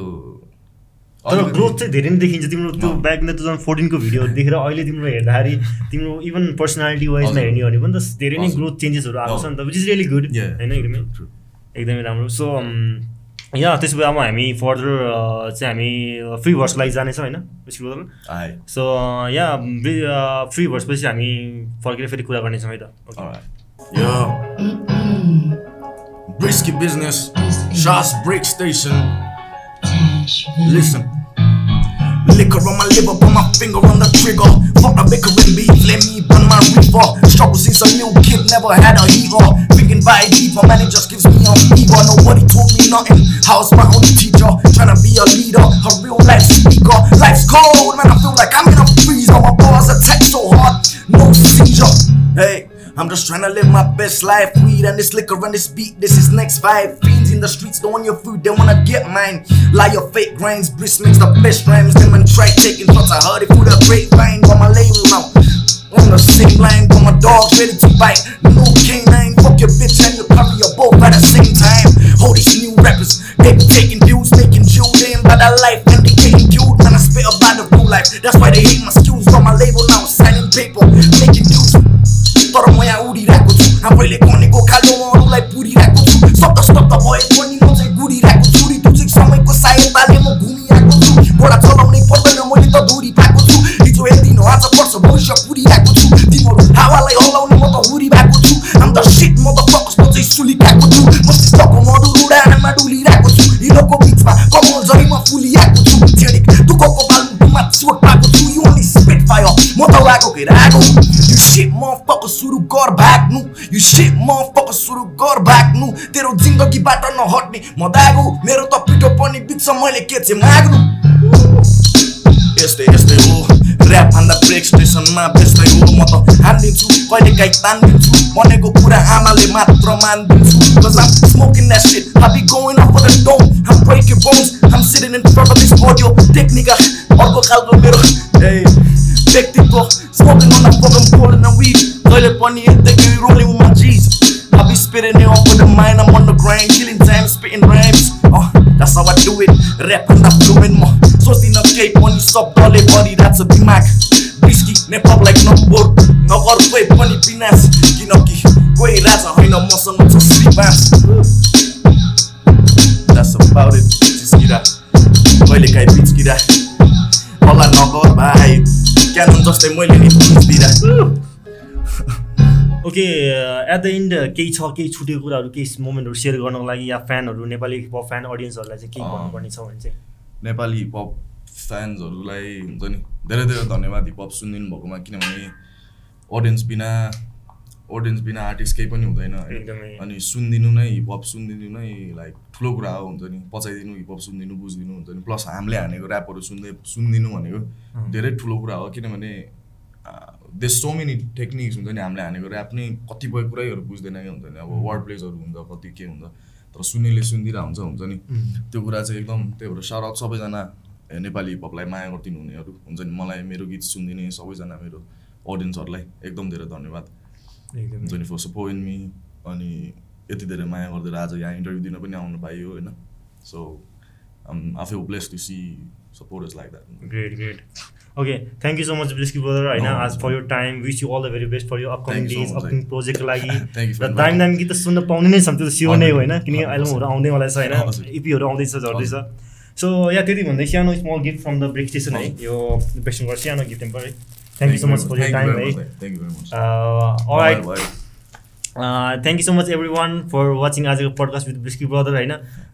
B: तर
A: अलिकति-
B: ग्रोथ चाहिँ धेरै नै देखिन्छ तिम्रो त्यो
A: अँ।
B: ब्याक टु थाउजन्ड फोर्टिनको भिडियो देखेर अहिले तिम्रो हेर्दाखेरि तिम्रो इभन पर्सनालिटी वाइजमा
A: हजुर।
B: हेर्ने हो भने पनि त धेरै नै
A: हजुर।
B: ग्रोथ चेन्जेसहरू आएको छ नि त which is really good
A: Yeah,
B: होइन एकदमै
A: true, true.
B: एकदमै राम्रो सो या त्यसो भए अब हामी फर्दर चाहिँ हामी uh, फ्री भर्सको लागि जानेछौँ होइन त्यसको बदल
A: आए
B: सो या फ्री भर्सपछि हामी फर्केर फेरि कुरा गर्नेछौँ है त Okay.
A: alright. Yo. Brisky business. Shaw's break station. Listen. Liquor on my liver, put my finger on the trigger. Fuck the bickering beef, let me burn my reefer. Struggle since a little kid, never had a hero. Thinking by a deeper, man, it just gives me a fever. Nobody told me nothing. How's my only teacher? Tryna be a leader, a real life speaker. Life's cold, man, I feel like I'm in a freezer. My bars attack so hard, no seizure. Hey. I'm just tryna live my best life. Weed and this liquor and this beat, this is next vibe. Fiends in the streets don't want your food, they wanna get mine. Lie your fake grinds, Briss makes the best rhymes. Them and try taking shots, I heard it through the grapevine. Got my label now. On the same line, got my dogs ready to bite. No canine, fuck your bitch and your puppy, you're both at the same time. All these new rappers, they be taking views, making children by that life, and they getting killed. Man, I spit about the real life, that's why they hate my skills. Got my label now, signing paper, making news. तर म यहाँ उडिरहेको छु आफैले भनेको खाल्डोमा अरूलाई पुरिरहेको छु शब्द शब्द भए पनि म चाहिँ गुडिरहेको छु ऋतु चाहिँ समयको सायद पाले म घुमिरहेको छु घोडा चलाउनै पर्दैन मैले त धुरी पाएको छु हिजो हेरिदिनु आज पर्छ भविष्य पुरिरहेको छु तिमीहरू हावालाई हल्लाउने म त हुरी भएको छु आम त सिट म त फकस म चाहिँ सुलिरहेको छु मस्तिष्कको मधुर उडानमा डुलिरहेको छु हिलोको बिचमा कमल जरीमा फुलिरहेको छु जेडिक दुःखको बालुमा चोट पाएको छु यो अनि स्पिट फायर म त लागेको घेराएको You shit motherfucker सुरु गर भाग्नु You shit motherfucker सुरु गर भाग्नु तेरो जिन्दगीबाट नहट्ने म दागु मेरो त पिठो पनि बित्छ मैले के चाहिँ माग्नु यस्तै यस्तै हो ऱ्याप भन्दा ब्रेक स्टेसनमा त्यस्तै हो म त हानिदिन्छु कहिले काहीँ तानिदिन्छु भनेको कुरा आमाले मात्र मानिदिन्छु Cause I'm smoking that shit I be going up for the dome I'm breaking bones I'm sitting in front of this audio Technica अर्को खालको मेरो ए व्यक्तित्व smoking on a fucking pole and a weed जहिले पनि यत्तिकै rolling with my G's I be spitting it off with the mind, I'm on the grind, killing time, spitting rhymes. Uh, that's how I do it, rap and I'm doing more. So see no cape on you sub dolly body, that's a dimac. Risky, nepop like no board, no or play funny pinas, kinoki. Way that's a high no muscle, not to sleep ass. That's about it, just get out. Oily guy, bitch, get out. Holla no god, bye. Can't just a moily, bitch, get out.
B: Okay at the end uh, केही छ केही छुटेको कुराहरू केही मोमेन्टहरू सेयर गर्नको लागि या फ्यानहरू नेपाली हिप हप फ्यान अडियन्सहरूलाई चाहिँ केही
A: अँ।
B: भन्नुपर्ने छ भने चाहिँ
A: नेपाली हिपहप फ्यान्सहरूलाई हुन्छ नि धेरै धेरै धन्यवाद हिपहप सुनिदिनु भएकोमा किनभने अडियन्स बिना अडियन्स बिना आर्टिस्ट केही पनि हुँदैन होइन।
B: एकदमै।
A: अनि सुनिदिनु नै हिपहप सुनिदिनु नै लाइक ठुलो कुरा हो हुन्छ नि पचाइदिनु हिपहप सुनिदिनु बुझिदिनु हुन्छ नि प्लस हामीले हानेको ऱ्यापहरू सुन्दै सुनिदिनु भनेको धेरै ठुलो कुरा हो किनभने दे सो मेनी टेक्निक्स हुन्छ नि हामीले हानेको ऱ्याप नै कतिपय कुरैहरू बुझ्दैन क्या हुन्छ नि अब वर्ड प्लेजहरू हुन्छ कति के हुन्छ तर सुन्नेले सुनिदिरहेको हुन्छ हुन्छ नि त्यो कुरा चाहिँ एकदम त्यही भएर साह्रो सबैजना ए, नेपाली हिपहपलाई माया गरिदिनु हुनेहरू हुन्छ नि मलाई मेरो गीत सुनिदिने सबैजना मेरो अडियन्सहरूलाई एकदम धेरै धन्यवाद हुन्छ
E: एकदमै
A: नि फर सपोर्टिङ मी अनि यति धेरै माया गरिदिएर आज यहाँ इन्टरभ्यू दिन पनि आउनु पाइयो होइन सो आफै bless to see support is like that
B: great great okay thank you so much Brisky brother होइन
A: No.
B: आज for your time wish you all the very best for your upcoming
A: Thank you so
B: days
A: much.
B: Upcoming प्रोजेक्टको लागि
A: Thank you for
B: र दामी दामी गीत त सुन्न पाउने नै छन् त्यो त स्योर नै हो होइन किनकि
A: हजुर,
B: एल्बमहरू
A: हजुर।
B: आउँदैवाला छ होइन
A: हजुर।
B: इपीहरू आउँदैछ झर्दैछ सो या त्यति भन्दै सानो small gift from the break station है
A: हजुर।
B: यो ब्रेक सानो गिफ्ट टेम्पर है thank you so much for your time है Uh,
A: thank you very much
B: right thank you so much everyone for watching आजको पडकास्ट विथ ब्रिस्की ब्रदर होइन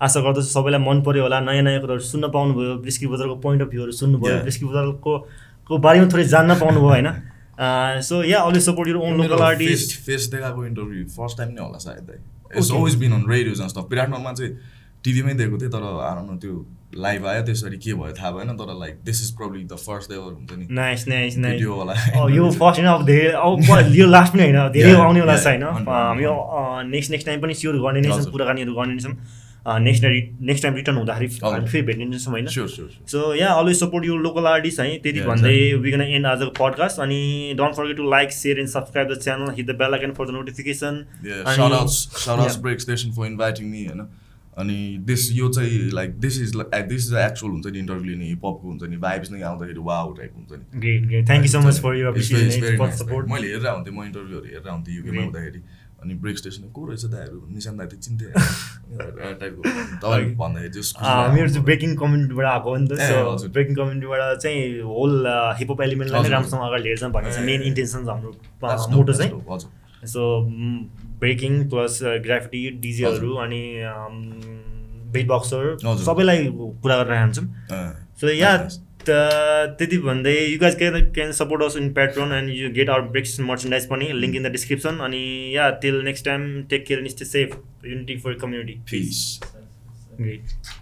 B: आशा गर्दछु सबैलाई मन पऱ्यो होला नयाँ नयाँ कुराहरू सुन्न पाउनुभयो ब्रिस्की ब्रदरको पोइन्ट अफ भ्यूहरू सुन्नुभयो
A: Yeah.
B: ब्रिस्की ब्रदरको को बारेमा थोरै जान्न पाउनुभयो होइन so yeah always support your own local artist
A: face देखाएको इन्टरभ्यू फर्स्ट टाइम नै होला सायद दाइ it's
B: Okay.
A: Always been on radio जस्तो विराटनगरमा चाहिँ टिभीमै दिएको थिएँ तर आराममा त्यो लाइभ आयो त्यसरी के भयो थाहा भएन तर like this is problem the first ever हुन्छ नि
B: नाइस नाइस नाइस
A: भिडियो होला
B: Oh, यो फर्स्ट होइन अब धेरै अब प- यो लास्ट पनि होइन धेरै
A: Yeah,
B: आउनेवाला छ
A: yeah,
B: होइन
A: हुन्छ,
B: हामी
A: हुन्छ।
B: नेक्स्ट नेक्स्ट टाइम पनि स्योर गर्ने नै छौँ
A: हजुर।
B: कुराकानीहरू गर्ने नै छौँ नेक्स्ट नेक्स्ट टाइम रिटर्न हुँदाखेरि
A: हजुर।
B: हामी फेरि भेट्ने नै छौँ होइन
A: sure sure sure
B: so yeah always support your local artist है त्यति
A: Yeah,
B: भन्दै वी गन एन्ड आजको पडकास्ट अनि don't forget to like share and subscribe the channel hit the bell icon for the notification
A: Yeah,
B: अनि-
A: shout outs, shout outs
B: Yeah.
A: Break Station for inviting me, होइन अनि दिस यो चाहिँ like this is this is actual हुन्छ नि इन्टरभ्यू लिने हिपहपको हुन्छ नि भाइब्स नै आउँदाखेरि वा टाइप हुन्छ नि
B: great great thank you so much for your
A: It's very- it's very
B: appreciation for
A: nice,
B: support
A: like, मैले हेरेर हुन्थेँ म इन्टरभ्यूहरू हेरेर हुन्थेँ युकेमा
B: Great.
A: हुँदाखेरि अनि ब्रेक स्टेसन को रहेछ दाहरू निशान दाइ त चिन्थेँ होइन, टाइपको तपाईँले भन्दाखेरि चाहिँ खुसी लाग्यो।
B: Uh, मेरो चाहिँ ब्रेकिङ कम्युनिटीबाट आएको हो नि त
A: ए,
B: सो
A: हजुर।
B: ब्रेकिङ कम्युनिटीबाट चाहिँ uh, होल हिपअप एलिमेन्टलाई नै
A: हजुर,
B: राम्रोसँग अगाडि लिएर जाउँ भन्ने चाहिँ
A: ए,
B: मेन
A: ए,
B: इन्टेन्सन हाम्रो
A: That's dope,
B: मोटो
A: that's
B: चाहिँ
A: dope, हजुर
B: so mm, breaking plus graffiti डिजेहरू अनि बिट बक्सर
A: हजुर।
B: सबैलाई कुरा गरेर राख्छौँ
A: अँ,
B: So yeah,
A: that's nice.
B: त- त्यति भन्दै you guys can can support us in Patreon and you get our breaks merchandise पनि लिङ्क इन द डिस्क्रिप्सन अनि yeah till next time take care and stay safe unity for community
A: Peace.
B: Great